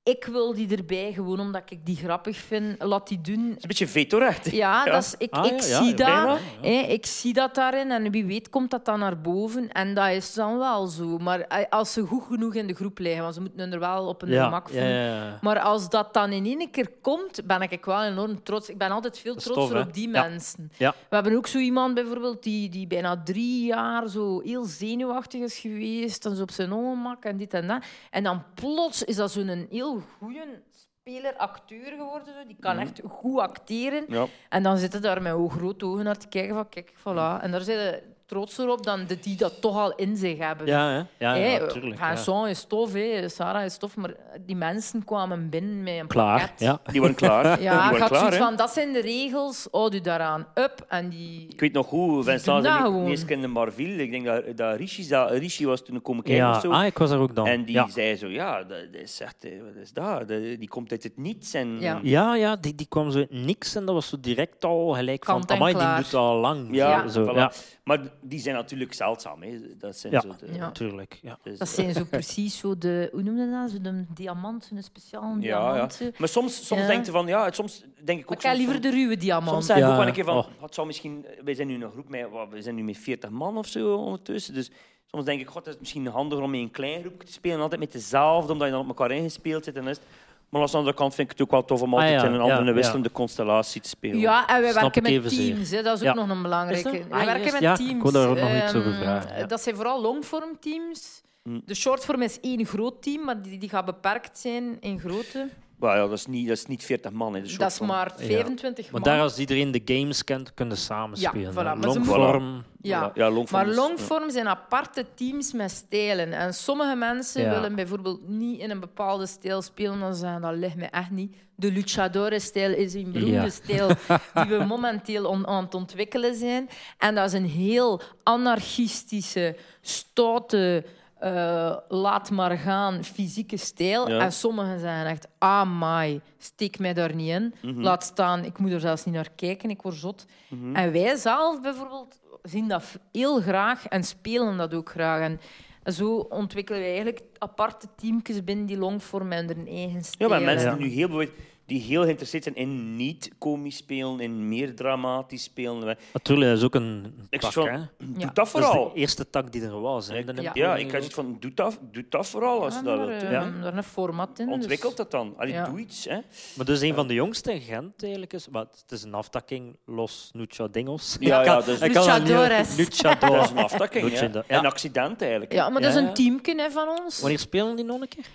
Ik wil die erbij, gewoon omdat ik die grappig vind. Laat die doen.
Het is een beetje veto-recht.
Ja,
Ja.
Dat is, ik,
Ah,
ik
[LAUGHS] ja, ja,
zie
bijna,
dat.
ja.
Hè, ik zie dat daarin en wie weet komt dat dan naar boven. En dat is dan wel zo. Maar eh, als ze goed genoeg in de groep liggen, want ze moeten er wel op een gemak
ja,
voelen.
ja.
Maar als dat dan in één keer komt, ben ik wel enorm trots. Ik ben altijd veel
Dat is
trotser
tof, hè?
op die
Ja.
mensen.
Ja.
We hebben ook zo iemand bijvoorbeeld die, die bijna drie jaar zo heel zenuwachtig is geweest. En zo op zijn ongemak en dit en dat. En dan plots is dat zo'n heel goede speler, acteur geworden. Zo. Die kan echt goed acteren.
Ja.
En dan zitten daar met hoe groot ogen naar te kijken van kijk, voilà. En daar zijn ze trotser op dan de die dat toch al in zich hebben.
Ja, hè? ja, ja,
Hey,
natuurlijk. ja.
Vincent is tof, hè, Sarah is tof, maar die mensen kwamen binnen met een
Klaar,
pakket.
ja.
Die waren klaar. Die
Ja,
waren
ik had
klaar,
zoiets
hè.
van, dat zijn de regels, houd u daaraan up. En die...
Ik weet nog hoe, Vincent
Doe dat
en ik
gewoon.
eerst kenden Marville. Ik denk dat, dat Richie dat, Richie was toen komen kijken
ja.
of zo.
Ah, ik was er ook dan.
En die
ja.
zei zo, ja, dat dat is echt, eh, wat is dat? Dat- Die komt uit het niets. En,
Ja.
Ja, ja die, die kwam zo uit niks en dat was zo direct al gelijk
Kant
van...
en
Amai, die
klaar.
doet dat al lang. zo,
Ja,
zo,
voilà.
ja.
Maar die zijn natuurlijk zeldzaam. Hè. Dat zijn
Ja.
zo de,
Ja.
natuurlijk. Ja.
dus-
Dat
[LAUGHS]
zijn zo precies zo de, hoe noemde dat? Zo de diamant, een speciaal
Ja, ja.
diamant. zo.
Maar soms, soms
Ja.
denk je van, ja, soms denk ik
Maar
ook...
ik heb
soms
liever
van-
de ruwe diamant.
Soms zeg ik
Ja,
ook wel een keer van,
oh.
het zou misschien, eh, wij zijn nu in een groep met, wat, we zijn nu met 40 man of zo ondertussen, dus soms denk ik, god, het is misschien handiger om in een klein groepje te spelen, altijd met dezelfde, omdat je dan op elkaar ingespeeld zit en is het- Maar aan de andere kant vind ik het ook wel tof om
Ah,
altijd
ja,
in een andere
ja,
wisselende constellatie te spelen.
Ja, en wij
Snap
werken
ik
met
evenzeer.
teams. Hè. Dat is
Ja.
ook nog een belangrijke.
Is dat?
wij
Ah,
werken
juist.
met
Ja, ik
teams.
wil daar ook nog iets
Ehm,
over vragen, ja.
Dat zijn vooral longform teams.
Hm.
De shortform is één groot team, maar die, die gaat beperkt zijn in grootte.
Maar ja, dat, is niet, dat is niet 40 man. Hè, dus
Dat is maar 25
Maar
man.
daar, als iedereen de games kent, kunnen ze samen
Ja,
spelen.
voilà,
hè.
maar ze
Longform.
ja.
ja longform
Maar
is-
longform zijn aparte teams met stijlen. En sommige mensen
Ja.
willen bijvoorbeeld niet in een bepaalde stijl spelen, omdat ze zeggen, dat ligt me echt niet. De luchadores-stijl is een beroemde
Ja. [LAUGHS]
stijl die we momenteel on- aan het ontwikkelen zijn. En dat is een heel anarchistische, stoute, eh, laat maar gaan fysieke stijl.
Ja.
En sommigen zeggen echt, ah my, steek mij daar niet in.
Mhm.
Laat staan, ik moet er zelfs niet naar kijken, ik word zot. En wij zelf bijvoorbeeld zien dat heel graag en spelen dat ook graag. En zo ontwikkelen we eigenlijk aparte teamjes binnen die longvorm en hun eigen
Ja,
stijl.
maar mensen die nu heel bijvoorbeeld- die heel geïnteresseerd zijn in niet komisch spelen, in meer dramatisch spelen.
Natuurlijk, dat is ook een
Ik
tak,
zo-
hè.
Ja.
Doe dat
Dat is
vooral.
de eerste tak die er was. Hè.
Ik-
Dan heb je
Ja,
nog
ik
een-
had zoiets van, doe dat, doe dat vooral als
Ja,
je dat
maar,
wilt
eh,
doen.
we
ja.
hebben daar een format in. dus-
Ontwikkel dat dan. Allee,
Ja.
doe iets. Hè.
Maar dus een van de jongste in Gent eigenlijk is. Maar het is een aftakking los Nucha Dingels.
Ja,
Ik kan-
ja, dus-
ik kan dat niet-
Luchadores.
Luchadores.
Dat is een aftakking. hè.
Luchador- ja.
Een accident eigenlijk.
Ja, maar dat is
Ja,
een
ja.
teamje hè, van ons.
Wanneer spelen die nog een keer?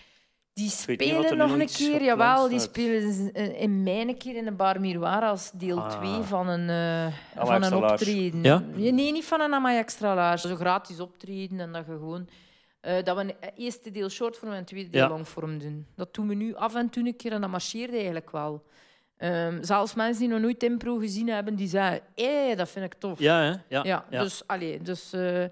Die
weet niet wat er nu
spelen nog een
iets
keer,
gepland
jawel. Die
staat.
spelen z- in- in mijn keer in de Bar Miroir als deel
Ah.
2 van een, eh van
extra
een
large.
optreden.
Ja?
Nee, nee, niet van een Amai Extra Large. Zo gratis optreden en dat je gewoon... eh, dat we een eh, eerste deel shortform en een tweede deel
Ja.
longform doen. Dat doen we nu af en toe een keer en dat marcheerde eigenlijk wel. Ehm, zelfs mensen die nog nooit impro gezien hebben, die zeiden... Hé, dat vind ik tof.
Ja, hè? ja.
Ja,
ja.
dus allee, dus. eh,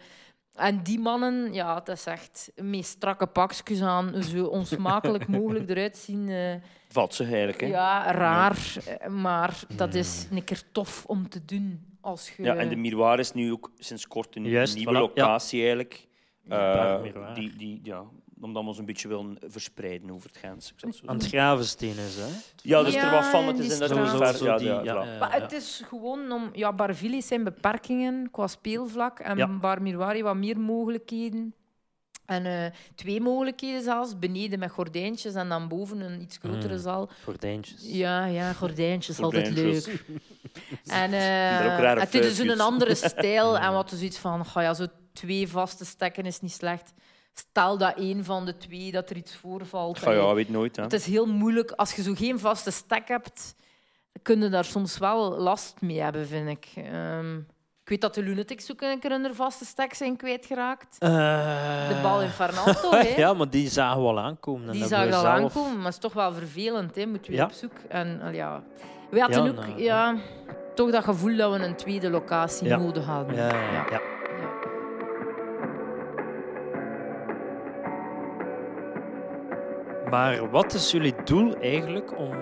en die mannen, ja, dat is echt met strakke pakjes aan, zo onsmakelijk mogelijk eruit zien. eh,
Valt ze eigenlijk. Hè.
ja, raar, eh, maar dat is een keer tof om te doen als je.
Ja, en de Miroir is nu ook sinds kort een
Juist,
nieuwe
voilà, ja.
locatie eigenlijk.
Prachtig
Eh,
Miroir.
die, die, ja, omdat we ons een beetje willen verspreiden over het grens. Ik zal het zo
Aan het
zeggen.
gravensteen is, hè?
Ja, dus er
Ja,
wat van,
en
het is
die
inderdaad
straat.
zo
Sowieso,
ver. Ja,
zo die.
ja,
ja,
voilà.
eh,
Maar het is gewoon om. Ja, Barville zijn beperkingen qua speelvlak en
Ja.
Bar Miroir heeft wat meer mogelijkheden. En eh, twee mogelijkheden zelfs. Beneden met gordijntjes en dan boven een iets grotere
Mm.
zaal.
Gordijntjes.
Ja, ja, gordijntjes, altijd
Gordijntjes.
leuk.
Dus
En eh,
Er ook rare
het is dus
fuifjes.
een
[LAUGHS]
andere stijl. En wat dus iets van, goh, ja, zo twee vaste stekken is niet slecht. Stel dat één van de twee, dat er iets voorvalt.
Ga
Allee,
Ah ja, weet nooit. Hè.
Het is heel moeilijk. Als je zo geen vaste stek hebt, dan kun je daar soms wel last mee hebben, vind ik. Ehm, ik weet dat de Lunatics ook een keer hun vaste stek zijn kwijtgeraakt. De bal in
[LAUGHS]
Fernando, hè.
Eh. Ja, maar die zagen wel aankomen. En
Die
hebben
zagen
we
al
zelf-
aankomen, maar het is toch wel vervelend, hè? moet je weer
Ja.
op zoek. En, al ja. We hadden
Ja,
ook
nou,
ja, toch dat gevoel dat we een tweede locatie
Ja.
nodig hadden.
Ja, ja, ja.
ja.
Maar wat is jullie doel eigenlijk om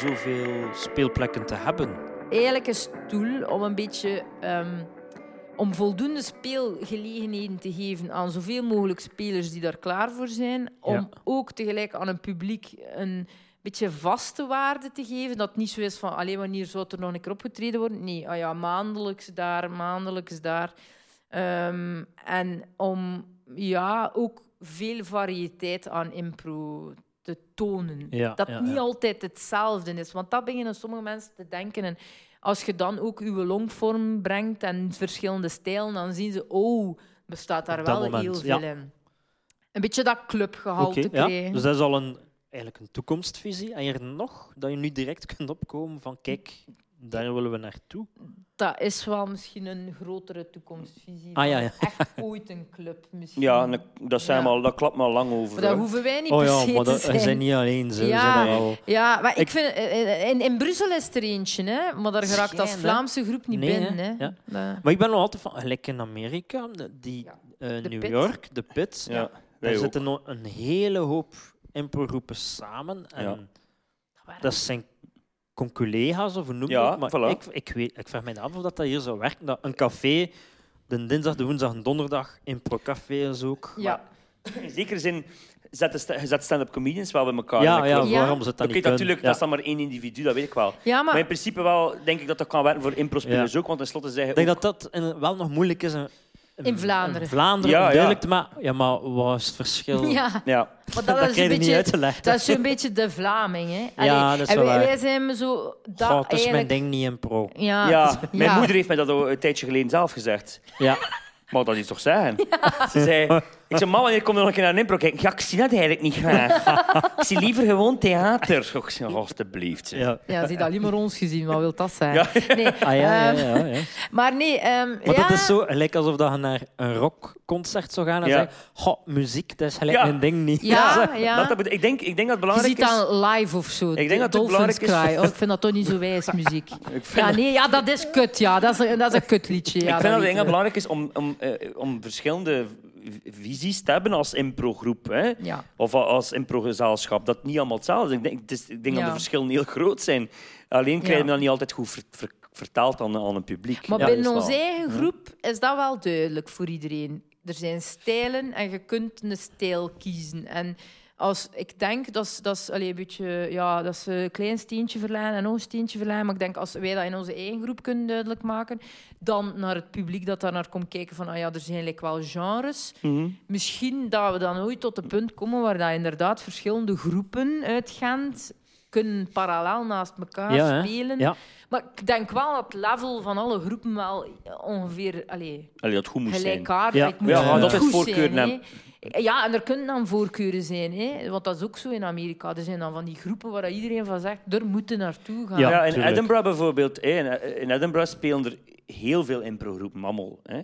zoveel speelplekken te hebben?
Eigenlijk een stoel om een beetje ehm, om voldoende speelgelegenheden te geven aan zoveel mogelijk spelers die daar klaar voor zijn. Om
Ja.
ook tegelijk aan een publiek een beetje vaste waarde te geven. Dat het niet zo is van alleen wanneer zou het er nog een keer opgetreden worden. Nee, ah ja, maandelijks daar, maandelijks daar. Ehm, en om ja, ook veel variëteit aan impro te tonen.
Ja,
dat
ja,
niet
ja.
altijd hetzelfde is. Want dat beginnen sommige mensen te denken. En als je dan ook je longvorm brengt en verschillende stijlen, dan zien ze, oh, bestaat daar
Op dat
wel
moment,
heel
ja.
veel in. Een beetje dat clubgehalte
Oké, ja.
krijgen.
Dus dat is al een, eigenlijk een toekomstvisie. En hier nog, dat je nu direct [LAUGHS] kunt opkomen van kijk, daar willen we naartoe.
Dat is wel misschien een grotere toekomstvisie.
Ah, ja,
van
ja.
Echt ooit een club misschien.
Ja, en dat- dat, zijn
Ja.
we al, dat klapt me al lang over.
Maar daar
hè.
hoeven wij niet
Oh
per
ja,
se
maar
te
dat,
zijn.
we zijn niet alleen. Ze, we
Ja.
zijn er al.
Ja, maar ik,
Ik-
vind, eh, in, in Brussel is er eentje, hè? maar daar geraakt als
Schijn, hè?
Vlaamse groep niet
Nee,
binnen.
hè?
Hè?
Ja.
Da-
Maar ik ben nog altijd van, gelijk in Amerika, de- die
Ja.
eh,
De
New
Pit.
York, de Pit,
Ja, wij
daar
ook.
zitten nog een hele hoop improgroepen samen. En
Ja.
Dat zijn con- collega's of hoe noem je
Ja,
het, maar
voilà.
ik, ik, weet, ik vraag me af of dat, dat hier zou werken. Dat een café, de dinsdag, de woensdag en donderdag, improcafé is ook.
Ja.
In zekere zin zet de sta- je zet stand-up comedians wel bij elkaar.
ja,
Dat
ja,
klopt.
Ja.
waarom ze het dan
Oké,
niet kunnen.
natuurlijk,
Ja.
dat is dan maar één individu, dat weet ik wel.
ja,
Maar
maar
in principe wel, denk ik dat dat kan werken voor impro-spelers
Ja.
ook, want tenslotte zeggen
Ik denk dat dat in- wel nog moeilijk is. In,
In Vlaanderen.
in Vlaanderen,
Ja,
om
ja.
duidelijk te maken. Ja, maar wat is het verschil?
[LAUGHS] ja,
Ja,
maar
Dat,
dat is
krijg
een
je niet
beetje
uit te leggen.
Dat is zo'n beetje de Vlaming, hè?
Ja,
Allee,
dat is
en
wel
wij,
waar.
wij zijn zo... Dat
Goh, het is mijn
eigenlijk...
ding niet
[LAUGHS]
impro.
Ja,
ja. mijn
Ah. ja.
moeder heeft mij dat al een tijdje geleden zelf gezegd.
Ja.
Ik Mag dat niet toch
[LAUGHS]
zeggen? Ze zei... Ik zei, mama, wanneer kom je nog een keer naar een impro kijken? Ja, ik zie dat eigenlijk niet
[LAUGHS]
graag. ik zie liever gewoon theater. Ik zei, "Oh, alstublieft. zeg."
Ja.
Ja, ze heeft alleen maar ons gezien, wat wil dat zijn?
Ja.
Nee,
Ah, ja, ja,
ehm,
ja, ja.
Maar nee, ehm,
Maar
ja,
dat is zo, gelijk alsof dat je naar een rockconcert zou gaan en
Ja.
zeggen: Goh, muziek, dat is gelijk
Ja.
mijn ding niet.
Ja, ja.
Dat, dat bedo- ik, denk, ik denk dat het
je
belangrijk
ziet
is...
dan live of zo.
Ik denk dat het
Dolphins
belangrijk is-
Cry. Oh, ik vind dat toch niet zo wijs, muziek.
Ik vind
Ja, nee, ja, dat is kut, ja. Dat is een, dat is een kutliedje. Ja,
ik vind dat het
weten
heel
we.
belangrijk is om, om, eh, om verschillende v- visies te hebben als improgroep. Hè?
Ja.
Of a- als improgezaalschap. Dat niet allemaal hetzelfde is. Ik denk, het is, ik denk
Ja.
dat de verschillen heel groot zijn. Alleen krijgen we
Ja.
dat niet altijd goed ver- ver- vertaald aan, aan een publiek.
Maar
Ja,
binnen
dat is
onze
wel-
eigen groep is dat wel duidelijk voor iedereen. Er zijn stijlen en je kunt een stijl kiezen. En als, ik denk dat is- dat is allee, een beetje, ja, dat is een klein steentje verleiden en nog een steentje verleiden. Maar ik denk als wij dat in onze eigen groep kunnen duidelijk maken, dan naar het publiek dat daar naar komt kijken van, ah ja, er zijn eigenlijk wel genres.
Mhm.
Misschien dat we dan ooit tot het punt komen waar dat inderdaad verschillende groepen uit Gent kunnen parallel naast
[LAUGHS]
elkaar
Ja, hè?
spelen.
Ja.
Maar ik denk wel dat het level van alle groepen wel ongeveer allee,
Allee, dat goed moest zijn.
e- gelijkaardig
Ja.
het moet.
Ja,
het
want
moet
dat is
goed
voorkeuren
zijn, hè. Ja, en er kunnen dan voorkeuren zijn. Hè? Want dat is ook zo in Amerika. Er zijn dan van die groepen waar iedereen van zegt, er moeten naartoe gaan.
Ja,
Ja, in
tuurlijk.
Edinburgh bijvoorbeeld. Hè, in, in Edinburgh spelen er heel veel improgroepen, mammel. Hè.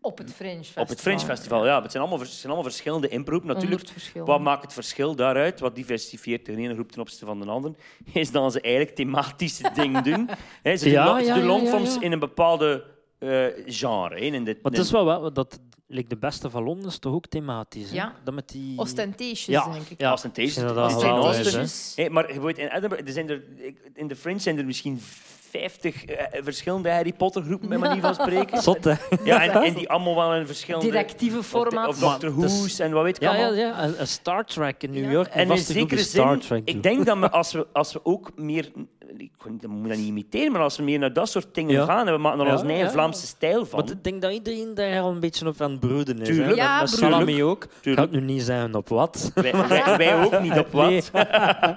Op het Fringe Festival.
Op het Fringe Festival, ja. maar Het zijn allemaal, vers- het zijn allemaal verschillende improgroepen. Natuurlijk,
Honderd verschillen.
Wat maakt het verschil daaruit? Wat diversifieert de ene groep ten opzichte van de andere? Is dat ze eigenlijk thematische dingen
[LAUGHS]
doen. Hè, ze doen,
Ja,
lo- ze
ja,
doen
ja, ja,
longforms
ja.
in een bepaalde eh, genre. hè, In dit,
Maar het is wel wel dat like, de beste van Londen is toch ook thematisch. hè?
Ja.
Dat met die...
Ostentations,
Ja,
denk ik.
ja.
Ostentations.
Ik vind dat wel
Ostentations.
wel wijs,
Ostentations.
Hè, maar je weet, in Edinburgh, er zijn er, ik- in de Fringe zijn er misschien 50 eh, verschillende Harry Potter groepen, bij manier van
hè. [LAUGHS]
spreken.
Zot,
[LAUGHS]
hè?
Ja, en, en die allemaal wel in verschillende...
Directieve
Of,
formaten.
of Doctor
Maar het is-
Who's en wat weet ik
Ja,
allemaal.
ja, ja. Een, een Star Trek in New
Ja.
York.
En in
vast een
zekere
Star
zin,
Trek
ik
doet.
denk dat we, als, we, als we ook meer ik kon- dat moet dat niet imiteren, maar als we meer naar dat soort dingen
Ja.
gaan, en we maken er als
Ja,
een eigen
ja.
Vlaamse stijl van.
Want ik denk dat iedereen daar al een beetje op aan het broeden is. hè.
Tuurlijk.
Ja,
Met
broeden.
salami ook. Ik ga
Tuurlijk.
het nu niet zeggen op wat.
wij, wij, wij ook niet op wat.
[LAUGHS] Nee.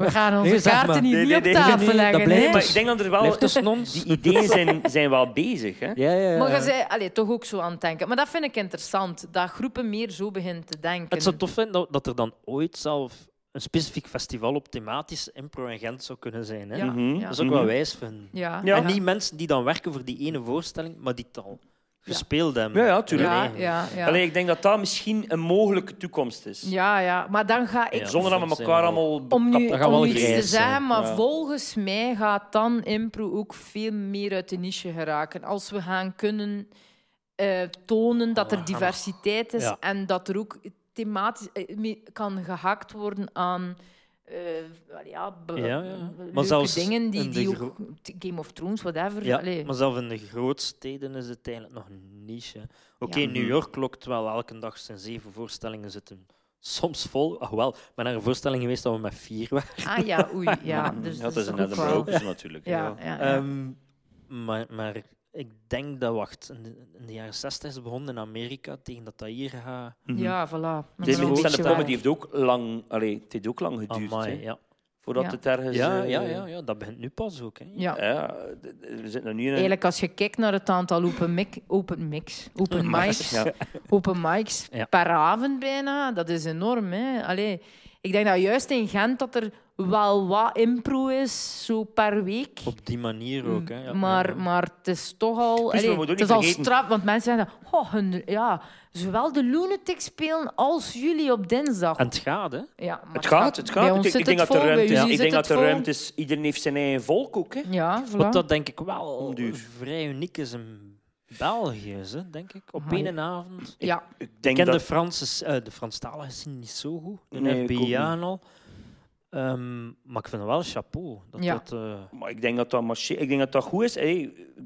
We gaan onze
Nee, zeg
kaarten
maar.
hier
Nee,
niet
nee,
op
nee,
tafel
nee, nee, dat
leggen.
blijft
hè.
Maar ik denk dat er wel...
Blijf tussen ons.
Die ideeën zijn, zijn wel bezig, hè?
Ja, ja, ja.
Maar je zei, allee, toch ook zo aan het denken. Maar dat vind ik interessant, dat groepen meer zo beginnen te denken.
Het zou tof zijn dat, dat er dan ooit zelf een specifiek festival op thematisch impro en Gent zou kunnen zijn. Hè?
Ja,
Mhm.
ja.
Dat is ook wel wijs vinden.
Ja,
Ja.
ja.
En niet mensen die dan werken voor die ene voorstelling, maar die het al gespeeld hebben.
Ja, ja, tuurlijk.
Nee.
Ja, ja, ja.
Allee, ik denk dat dat misschien een mogelijke toekomst is.
ja, ja. Maar dan ga ik...
Ja.
Zonder dat we
Soms zijn
elkaar
we-
allemaal...
Om nu,
Dat gaat
om
wel
nu iets te
grijs zijn.
zeggen, maar
Ja.
volgens mij gaat dan impro ook veel meer uit de niche geraken. Als we gaan kunnen eh, tonen dat
Ah,
er diversiteit is
Ja.
en dat er ook thematisch eh, mee kan gehakt worden aan eh, wel ja, be-
Ja, ja.
be-
Maar
leuke
zelfs
dingen die,
in de
die
gro-
ook... Game of Thrones, whatever.
Ja,
allee.
maar zelf in de grootsteden is het eigenlijk nog een niche. hè. Oké,
Ja.
New York lokt wel elke dag zijn zeven voorstellingen zitten. Soms vol. Ah, wel, ik ben naar een voorstelling geweest dat we met vier waren.
Ah ja, oei.
[LAUGHS]
Ja, dus,
dat is een
ook
Edinburgh
wel...
ook zo natuurlijk.
Ja,
ja.
ja, Ah, ja.
Ehm, maar, maar ik denk dat, wacht, in de, in de jaren 60 is het begonnen in Amerika, tegen dat dat hier gaat.
Mhm.
Ja, voilà. Maar dat is
Deze
een
ook-
opstaande
beetje
comedy
waar.
heeft ook lang, allee, het heeft ook lang geduurd.
Amai,
hè,
ja.
Voordat
Ja.
het ergens.
Ja,
eh,
ja, ja, ja, dat begint nu pas ook. Hè.
Ja.
ja, d- d- we zitten er nu in een.
Eigenlijk, als je kijkt naar het aantal open, mic, open mix, open
[LAUGHS]
mics,
Ja.
open mics
Ja.
per avond bijna, dat is enorm. Hè? Allee, ik denk dat juist in Gent dat er wel wat impro is, zo per week.
Op die manier ook. Hè. Ja, ja,
Maar,
ja.
maar het is toch al...
Plus, we
allee,
moeten ook
het is
niet
al
vergeten-
straf, want mensen zeggen... Oh, hun- ja, zowel de Lunatic spelen als jullie op dinsdag.
En het gaat, hè?
ja, maar
Het gaat, het gaat.
Bij ons
ik,
zit
ik denk
het
dat
vol,
de
bij
ruimte,
jullie
ik
zit
denk dat
het
de
vol.
ruimte is. Iedereen heeft zijn eigen volk ook. Hè.
Ja, voilà.
Wat dat denk ik wel
Om duur.
vrij uniek is in België, is, hè, denk ik. Op
Amai.
één avond.
Ja.
Ik
Ik
denk
ken de,
dat.
Franse, eh de Franstaligen zien niet zo goed. De
Nee, ik ook
FBI en al. Ehm, maar ik vind het wel een chapeau. Dat
Ja.
dat, eh,
Maar ik denk dat dat, marche- ik denk dat, dat goed is. Hey,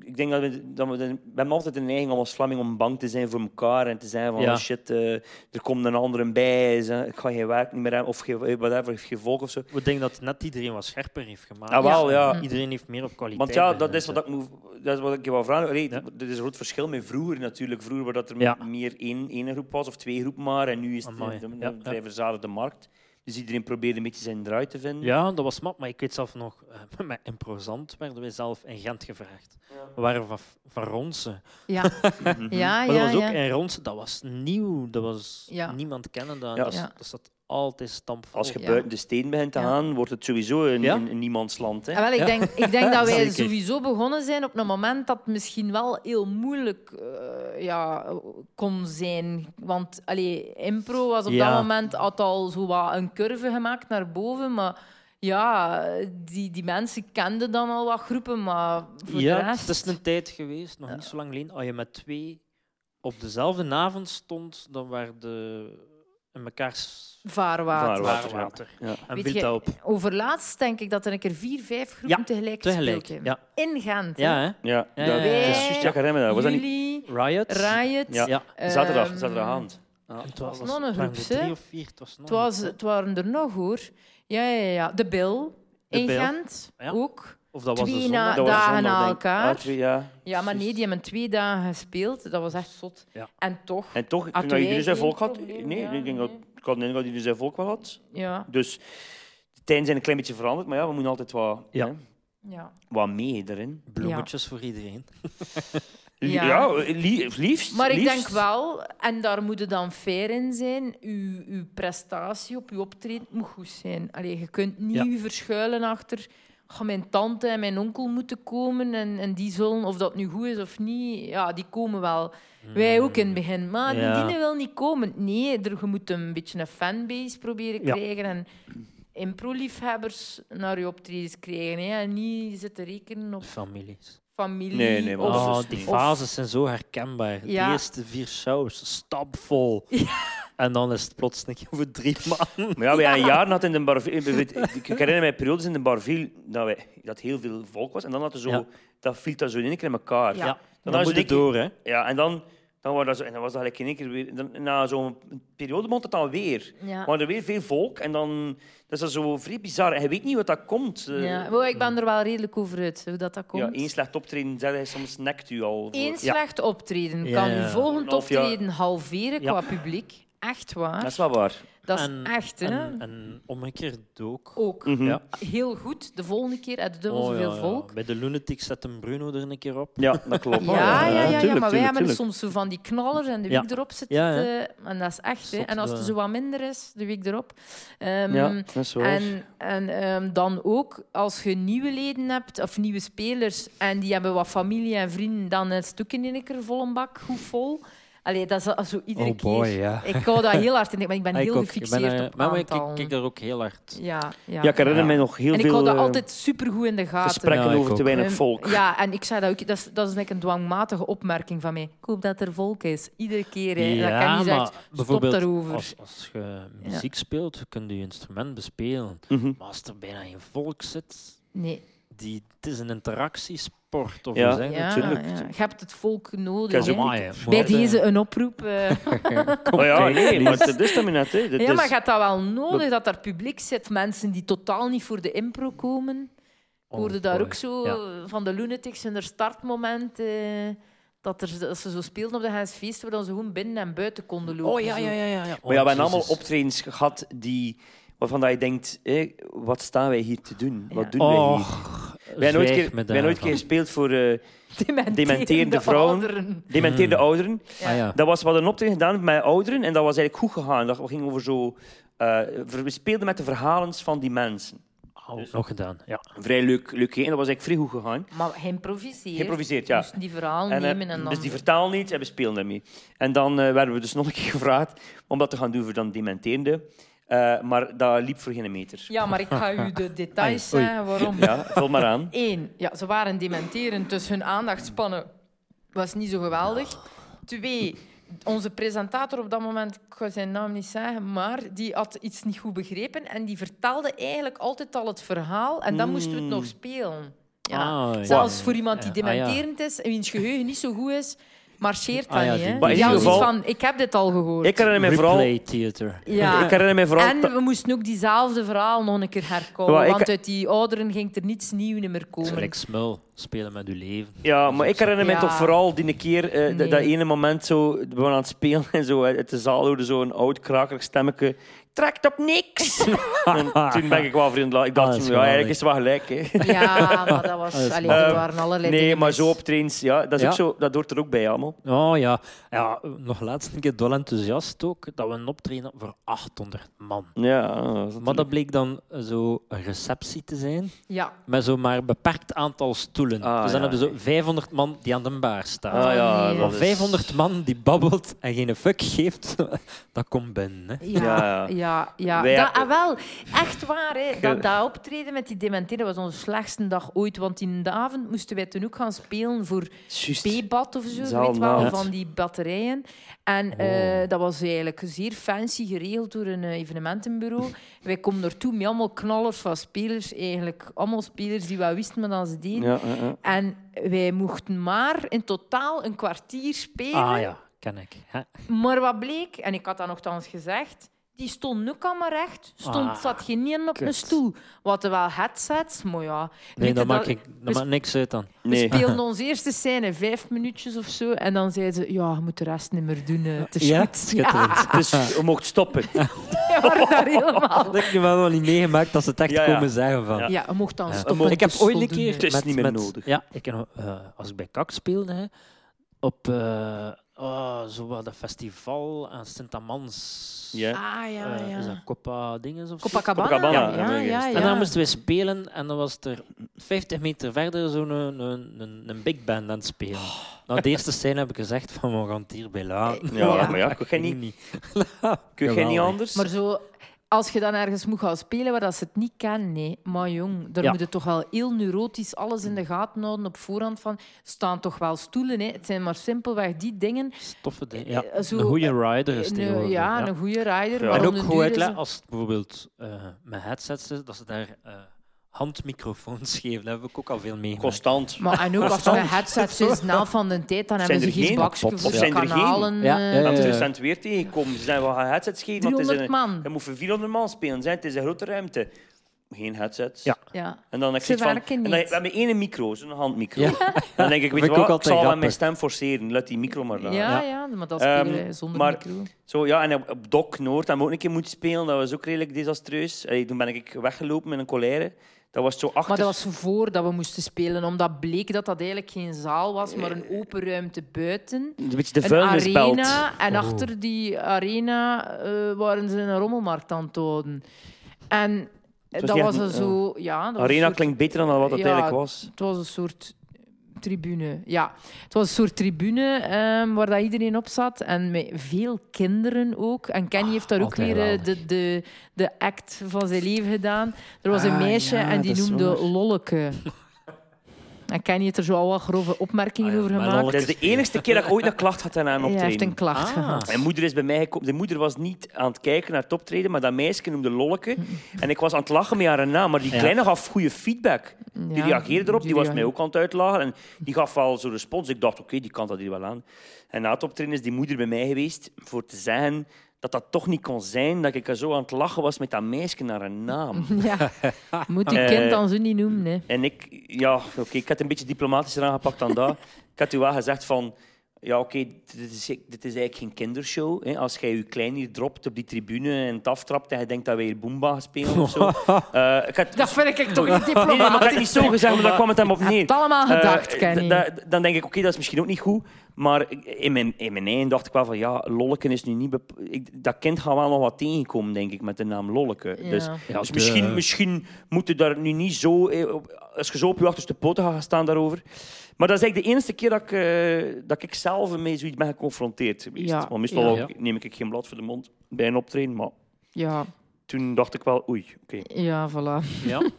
ik denk dat we, dat we, we hebben altijd een neiging om als Vlaming om bang te zijn voor elkaar en te zijn van
Ja.
oh shit, eh, er komt een ander bij, ze- ik ga geen werk niet meer hebben of geen, whatever, geen volk of zo.
we denken dat net iedereen wat scherper heeft gemaakt. Mm.
Ah, wel, ja.
Iedereen heeft meer op kwaliteit.
Want ja, dat
beginnen
is wat ik, moet, dat is wat ik je wou vragen. Allee,
Ja.
Er is een groot verschil met vroeger natuurlijk. Vroeger waar dat er
Ja.
meer één, één groep was of twee groepen maar. En nu is het
Amai,
een, een
ja,
vrij
ja.
verzadigde markt. Dus iedereen probeert een beetje zijn draai te vinden.
Ja, dat was mak, maar ik weet zelf nog, eh, [LAUGHS] met Improzant werden wij zelf in Gent gevraagd. We waren van, van Ronsen.
[LAUGHS]
Ja, ja,
Maar
Ah, ja.
dat was ook
ja.
in Ronsen, dat was nieuw. Dat was,
Ja.
Niemand kende dat.
Ja.
Dat,
Ja.
dat zat altijd stampvol.
Als je
Ja.
buiten de steen begint te
Ja.
gaan, wordt het sowieso een,
Ja.
een, een niemandsland. Hè?
Ah, wel, ik, denk, ik
[LAUGHS]
denk dat wij
Zeker.
sowieso begonnen zijn op een moment dat misschien wel heel moeilijk eh, ja, kon zijn. Want allee, impro was op
Ja.
dat moment had al zo wat een curve gemaakt naar boven. Maar ja, die, die mensen kenden dan al wat groepen. Maar voor de
Ja,
rest...
het is een tijd geweest, nog niet zo lang geleden, als je met twee op dezelfde avond stond, dan waren de in mekaars
Vaarwater.
Vaarwater. ja.
vaarwater.
Ja.
En
Weet
viel
je,
dat op.
Overlaatst denk ik dat er een keer vier, vijf groepen
Ja,
tegelijk
Tegelijk,
gespeeld hebben.
ja.
In Gent. hè.
Ja, eh, hè?
Ja,
Ja,
dat
ja,
ja,
dat
ja.
is juist Jacques Remmena. Was dat niet?
Jullie,
Riot.
Riot.
Ja.
Ja.
Zaterdag,
ehm,
zaterdagavond.
En het was,
was nog een
het waren
groep,
er drie
hè?
of vier. Het was nog
Het, was,
een groep,
het waren er nog hoor. Ja, ja, ja. De Bill
De
in
Bill,
Gent
ja.
ook.
hè. Of dat was de
twee
zondag.
na-
Dat was de
dagen
zondag,
na
denk ik.
elkaar.
Ah, twee, ja.
Ja, maar nee, die hebben twee dagen gespeeld. Dat was echt zot.
Ja.
En toch,
En toch, toen
Hadden
dat iedereen
wij
zijn
geen
volk had...
probleem,
Nee,
ja,
ik denk dat
nee.
ik had niet dat iedereen zijn volk wel had.
ja.
Dus de tijden zijn een klein beetje veranderd, maar ja, we moeten altijd wat,
Ja.
hè,
ja.
wat mee erin.
Bloemetjes voor iedereen.
Li-
Ja.
Ja, li- liefst.
Maar ik
liefst.
denk wel, en daar moet je dan fair in zijn, uw, uw prestatie op uw optreden moet goed zijn. Allee, je kunt niet
Ja.
je verschuilen achter "Ah, mijn tante en mijn onkel moeten komen en, en die zullen, of dat nu goed is of niet, ja, die komen wel. Wij ook in het begin, maar
Ja.
die dienen wil niet komen. Nee, er, je moet een beetje een fanbase proberen
Ja.
krijgen en impro-liefhebbers naar je optredens krijgen. Hè, en niet zitten rekenen op
Families.
familie.
Nee, nee, maar
of-
dat
Oh,
is
die
niet.
fases zijn zo herkenbaar. De
Ja.
eerste vier shows,
[LAUGHS]
stampvol. En dan is het plots een keer voor drie [LAUGHS] man.
Maar ja, wij hadden jaren had in de Barville... Ik weet- ik herinner mij periodes in de Barville dat, wij, dat heel veel volk was. En dan had er zo...
Ja.
Dat viel dat zo in één keer in elkaar.
Ja.
Ja,
Dan
dan,
is
moet
het
het door, hè?
Ja, en dan Dan was dat zo, en dan was dat eigenlijk in één keer weer... dan- na zo'n periode mond het dan weer.
Ja.
Maar er weer veel volk en dan... Dat is dan zo vrij bizar. En je weet niet wat dat komt. Eh,
Ja. Maar ik ben er wel redelijk over uit, hoe dat, dat komt.
Ja, één slecht optreden, zeg je, soms nekt u al. voor-
Eén
Ja,
slecht optreden
Ja,
kan
ja.
uw volgend
Half jaar.
optreden halveren
Ja.
qua publiek. Echt waar.
dat is wel waar.
Dat is nou?
En-
echt, hè?
En, en omgekeerd ook.
Ook.
Mhm.
Ja.
Heel goed. De volgende keer uit de dubbel
Oh, ja,
zoveel
ja.
volk.
Bij de Lunatics zet een Bruno er een keer op.
Ja, dat klopt.
Ja, ja, ja, ja, maar
Tuurlijk,
wij
tuurlijk,
hebben
tuurlijk.
soms zo van die knallers en de week
Ja.
erop zit.
Ja,
het,
ja.
eh, en dat is echt. Hè.
Zot,
En als het
eh.
zo wat minder is, de week erop. Ehm,
Ja, dat is waar.
En, en ehm, dan ook als je nieuwe leden hebt of nieuwe spelers en die hebben wat familie en vrienden, dan is het ook in een keer vol een bak, goed vol. Allee, dat is al- zo iedere
Oh boy,
keer.
ja.
Ik hou dat heel hard in, maar ik ben
Ah,
heel
ook.
gefixeerd
eh,
op
maar ik- ik
aantallen.
kijk daar ook heel hard.
ja, ja.
Ja, ik herinner
Ja.
mij nog heel
en ik
veel
hou dat
eh,
altijd supergoed in de gaten.
gesprekken
Ja, ik
over te
ook.
weinig
Ehm,
volk.
Ja, en ik zei dat ook. Dat is, dat is like een dwangmatige opmerking van mij. Ik hoop dat er volk is. Iedere keer. Hè. dat kan niet zeggen, stop
bijvoorbeeld
daarover.
Als, als je muziek speelt, kun je je instrument bespelen.
Mhm.
Maar als er bijna geen volk zit,
Nee.
die, het is een interactiesport. Of
Ja.
hoe zeg je
Ja,
het?
natuurlijk.
ja. Je hebt het volk
Kan
nodig.
zo
hè.
maar,
Amai,
Bij
wat, eh,
deze een oproep. eh.
Oh ja, nee, maar dat is dat me net. Hè. Dat
ja,
Dus
is-
maar je hebt dat wel nodig, dat er publiek zit. Mensen die totaal niet voor de impro komen. Ik hoorde
Oh,
daar
boy.
ook zo
Ja.
eh, van de Lunatics in haar startmoment. eh, dat er, als ze zo speelden op de Gens Feest, waar dan ze gewoon binnen en buiten konden lopen.
Oh ja,
zo.
ja, ja. ja, ja. Oh,
Maar ja, we hebben
Jezus.
allemaal optredens gehad die, waarvan dat je denkt, hé, wat staan wij hier te doen?
Ja.
Wat doen wij hier?
Och,
We hebben nooit
zwijg
keer,
me
wij hebben nooit
daarvan.
keer gespeeld voor eh,
Dementerende,
Dementerende vrouwen.
ouderen.
dementeerde ouderen.
Ah, ja.
Dat was, we hadden een optreden gedaan met ouderen en dat was eigenlijk goed gegaan. Dat ging over zo... eh, ver- we speelden met de verhalens van die mensen.
Oh, nog gedaan. Ja.
Vrij leuk, leuk hè? en dat was eigenlijk vrij goed gegaan.
Maar geïmproviseerd.
Geïmproviseerd, ja.
Dus die verhaal
En, eh,
nemen en dan...
Dus die vertaal niet en we spelen daarmee. En dan eh, werden we dus nog een keer [LAUGHS] gevraagd om dat te gaan doen voor dan dementeerde. Eh, maar dat liep voor geen meter.
Ja, maar ik ga
[LAUGHS]
u de details
Oei.
zeggen waarom.
Ja, vul maar
[LAUGHS]
aan.
Eén, ja, ze waren dementerend, dus hun aandachtspannen was niet zo geweldig. Twee, onze presentator op dat moment, ik ga zijn naam niet zeggen, maar die had iets niet goed begrepen en die vertelde eigenlijk altijd al het verhaal en dan moesten we het
Mm.
nog spelen. Ja.
Ah, ja.
Zelfs voor iemand die
Ja, ah, ja.
dementerend is en wiens geheugen niet zo goed is, marcheert dat
Ah, ja,
niet. Hè?
die-
Maar in
Die had
ieder
zoiets
geval-
van, ik heb dit al gehoord.
Ik herinner mij vooral...
Replay theater.
Ja.
Ik herinner mij vooral...
En we moesten ook diezelfde verhaal nog een keer herkomen.
Wel, ik-
Want uit die ouderen ging er niets nieuws meer komen.
Gelijk smul. Spelen met uw leven.
Ja, maar ik herinner me
Ja.
toch vooral die keer, eh, d-
Nee.
dat ene moment zo, we waren aan het spelen [LAUGHS] en zo uit de zaal hoorde zo'n oud krakerig stemmetje, trekt op
[LAUGHS]
niks! en toen ben ik wel vriendelijk. Ik
Ah,
dacht,
dat is
ja, eigenlijk is het wel gelijk.
[LAUGHS]
Hè.
[LAUGHS]
Ja, maar dat was...
Dat is
allee,
maar-
er waren allerlei
Nee,
dingen
maar
mis.
zo op trains, ja, dat, is
Ja.
ook zo, dat hoort er ook bij allemaal.
Oh ja. ja, nog laatst een keer dol enthousiast ook, dat we een optreden hadden voor 800 man.
Ja, dat is
Maar dat
natuurlijk-
bleek dan eh, zo een receptie te zijn,
Ja.
met zo maar een beperkt aantal stoelen.
Ah,
dus dan
ja.
hebben ze 500 man die aan de baar staan.
Ah, ja,
Nee.
Maar
dat is-
500 man die babbelt en geen fuck geeft, [LAUGHS] dat komt binnen. Hè.
Ja,
Ja, ja.
ja, ja.
Wij-
Dat, ah, wel, echt waar. Hè. Dat, dat optreden met die dementeren was onze slechtste dag ooit. Want in de avond moesten wij toen ook gaan spelen voor
Juist.
P-bad of zo,
Zaal
weet wel,
naald.
van die batterijen. En
Oh.
eh, dat was eigenlijk zeer fancy geregeld door een eh, evenementenbureau. Wij komen naartoe met allemaal knallers van spelers, eigenlijk allemaal spelers die wel wisten wat ze deden.
Ja, ja, ja.
En wij mochten maar in totaal een kwartier spelen.
Ah ja, ken ik. Ja.
Maar wat bleek, en ik had dat nogthans gezegd, die stond nu allemaal recht, stond,
Ah,
zat geen één op een
kut.
stoel. We hadden wel headsets, maar ja...
Nee,
weet
dat
je
maakt, ik,
we
dat maakt niks uit dan.
we
Nee.
[LAUGHS]
speelden onze eerste scène vijf minuutjes of zo. En dan zeiden ze, ja, je moet de rest niet meer doen. eh, Het
[LAUGHS]
is
Ja,
goed.
schitterend.
Ah.
Dus je mocht
[LAUGHS]
stoppen.
Ja, we waren daar helemaal...
Dat heb je wel nog niet meegemaakt dat ze het echt
Ja, ja.
komen zeggen van.
Ja.
Ja, je mocht dan
Ja.
stoppen.
Maar
Ik heb
Het is
ooit een
voldoende.
keer.
Het is niet meer nodig.
Ja, ik heb, nog, eh, als ik bij Kak speelde, hè, op eh oh, zo wat dat festival aan Sint-Amans.
Ja.
Ah, ja,
eh, is
ja.
dat Copa Dinges of zo?
Copacabana.
Copacabana,
Ja, ja, ja.
En dan moesten wij spelen en dan was er 50 meter verder zo'n eh, een, een, een, een big band aan het spelen.
Oh.
Nou, de eerste scène heb ik gezegd van we gaan het hierbij laten.
Ja,
Ja.
Eh, maar ja, kun je
Ik
niet, kun je
Jawel,
niet
hè.
anders?
Maar zo, als je dan ergens moet gaan spelen waar dat ze het niet kennen, nee. Maar jong, daar
Ja.
moet je toch wel heel neurotisch alles in de gaten houden op voorhand van... staan toch wel stoelen, hè. Het zijn maar simpelweg die dingen.
Stoffe ding. Ja,
Eh, zo-
een goede rider is
Een,
tegenwoordig.
ja,
ja.
een goede rider.
Ja.
maar
En
om
ook
de
goed
duur is
uitleggen
het-
als het bijvoorbeeld eh, met headsets is, dat ze daar eh, handmicrofoons [LAUGHS] geven. Daar heb ik ook al veel mee.
Constant.
Maar en ook als je een headset sinds na van de tijd, dan hebben
Zijn
ze
er
geen
geen?
bakje
Of
voor
zijn er geen?
kanalen.
Ja,
eh,
ja, ja.
Dat is recent weer tegengekomen. Ze zijn wel gaan headsets geven. want het is
300
een-
man.
Je moet voor 400 man spelen. Zijn. Het is een grote ruimte. Geen headsets.
Ja.
Ja.
En dan heb ik
Ze
zoiets van,
werken
en dan,
niet.
we hebben één micro, zo'n handmicro.
Ja.
[LAUGHS] Dan denk ik, weet
Vind ik
je
ook
wat, ik
altijd
zal aan
grappig.
mijn stem forceren. Laat die micro maar
Ja,
daar.
ja,
Ja.
maar dat
Ehm,
spelen wij zonder
maar-
micro.
Zo, ja, en op- op Doc Noord hebben we ook een keer moeten spelen. Dat was ook redelijk desastreus. Allee, toen ben ik weggelopen met een colère. Dat was zo achter...
Maar dat was voordat we moesten spelen, omdat bleek dat dat eigenlijk geen zaal was, maar een open ruimte buiten.
Een beetje de
Een
vuilnisbelt. Oh.
arena. En achter die arena eh, waren ze een rommelmarkt aan het houden. En
was
eh, dat
niet
was
echt
er
een- eh,
zo... Ja, dat was een
Arena
soort-
klinkt beter dan wat het
Ja.
eigenlijk was.
Het was een soort tribune. Ja, het was een soort tribune ehm, waar dat iedereen op zat. En met veel kinderen ook. En
Ah,
Kenny heeft daar ook
altijd
weer eh, de, de, de act van zijn leven gedaan. Er
Ah,
was een meisje en die noemde
[LAUGHS]
Lolleke. En Kenny heeft er zo al wat grove opmerkingen
Ah ja,
over
maar
gemaakt.
Dat is de enigste keer dat ik ooit een klacht had aan een
Hij heeft
optreden.
een klacht
Ah.
gehad.
Mijn moeder is bij mij gekomen. De moeder was niet aan het kijken naar het optreden, maar dat meisje noemde
[LAUGHS]
Lolleke. En ik was aan het lachen met haar naam, maar die
Ja.
kleine gaf goede feedback. Die
Ja,
reageerde erop, die was mij
reageerde.
ook aan het uitlachen. En die gaf wel zo'n respons. Ik dacht, oké, die kan dat hier wel aan. En na het optreden is die moeder bij mij geweest voor te zeggen dat dat toch niet kon zijn dat ik er zo aan het lachen was met dat meisje naar haar naam.
[LAUGHS] Ja. Moet die
Eh,
kind dan zo niet noemen, hè.
En ik, ja, oké, ik had het een beetje diplomatischer aangepakt dan dat. Ik had u wel gezegd van, ja, oké, dit, is, dit is eigenlijk geen kindershow. Hè. Als jij je klein hier dropt op die tribune en het aftrapt en je denkt dat wij hier Boomba gaan spelen of zo. Eh, ik had,
Dat vind ik toch
nee, nee, maar ik
niet
had
diplomatisch.
het niet zo gezegd, maar daar kwam het hem op
Hij
neer.
heeft het allemaal
Eh,
gedacht, Kenny.
d- d- dan denk ik, oké, dat is misschien ook niet goed. Maar ik- in mijn, in mijn eigen dacht ik wel van, ja, Lolleke is nu niet... bep- ik- dat kind gaat wel nog wat tegenkomen, denk ik, met de naam Lolleke.
Ja.
Dus,
Ja,
dus
de-
misschien, misschien moet je daar nu niet zo... eh, op- Als je zo op je achterste poten gaat gaan staan daarover. Maar dat is eigenlijk de eerste keer dat ik, eh, dat ik zelf mee zoiets ben geconfronteerd geweest.
Ja,
Want meestal
ja.
ook neem ik geen blad voor de mond bij een optreden. Maar
Ja,
toen dacht ik wel, oei, oké.
ja, voilà.
Ja. [LAUGHS]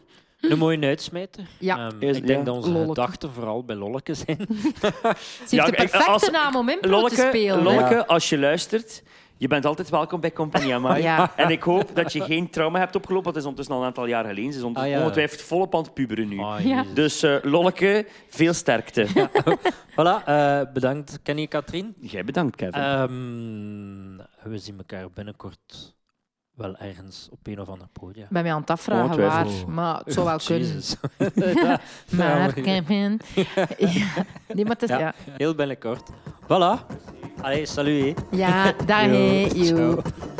Een mooie uitsmijter.
Ja.
Ehm,
Is-
ik denk
ja.
dat onze
Lolleke.
gedachten vooral bij Lolleke zijn.
Ze heeft
Ja,
de
ik-
perfecte
als-
naam om impro te
Lonneke,
spelen.
Lonneke,
Ja.
als je luistert, je bent altijd welkom bij Compagnie Amai.
Ja.
[LAUGHS] En ik hoop dat je geen trauma hebt opgelopen, want het is ondertussen al een aantal jaar geleden. Ze is onder-
Ah, ja.
ongetwijfeld volop aan het puberen nu.
Ah,
Ja.
jezus.
Dus eh Lonneke, veel sterkte.
Voilà, eh, bedankt Kenny en Katrien.
Jij bedankt, Kevin.
Ehm, we zien elkaar binnenkort wel ergens op een of ander podium.
Ik ben mij aan het afvragen waar,
Ongetwijfeld.
maar het zou wel
Oh,
kunnen.
Jezus. [LAUGHS]
Maar Kevin...
[LAUGHS]
Ja. Nee, maar het is...
Ja.
Ja,
Heel binnenkort. Voilà. Allee, salut. hè.
ja dag hè,
Yo,
yo.
ciao.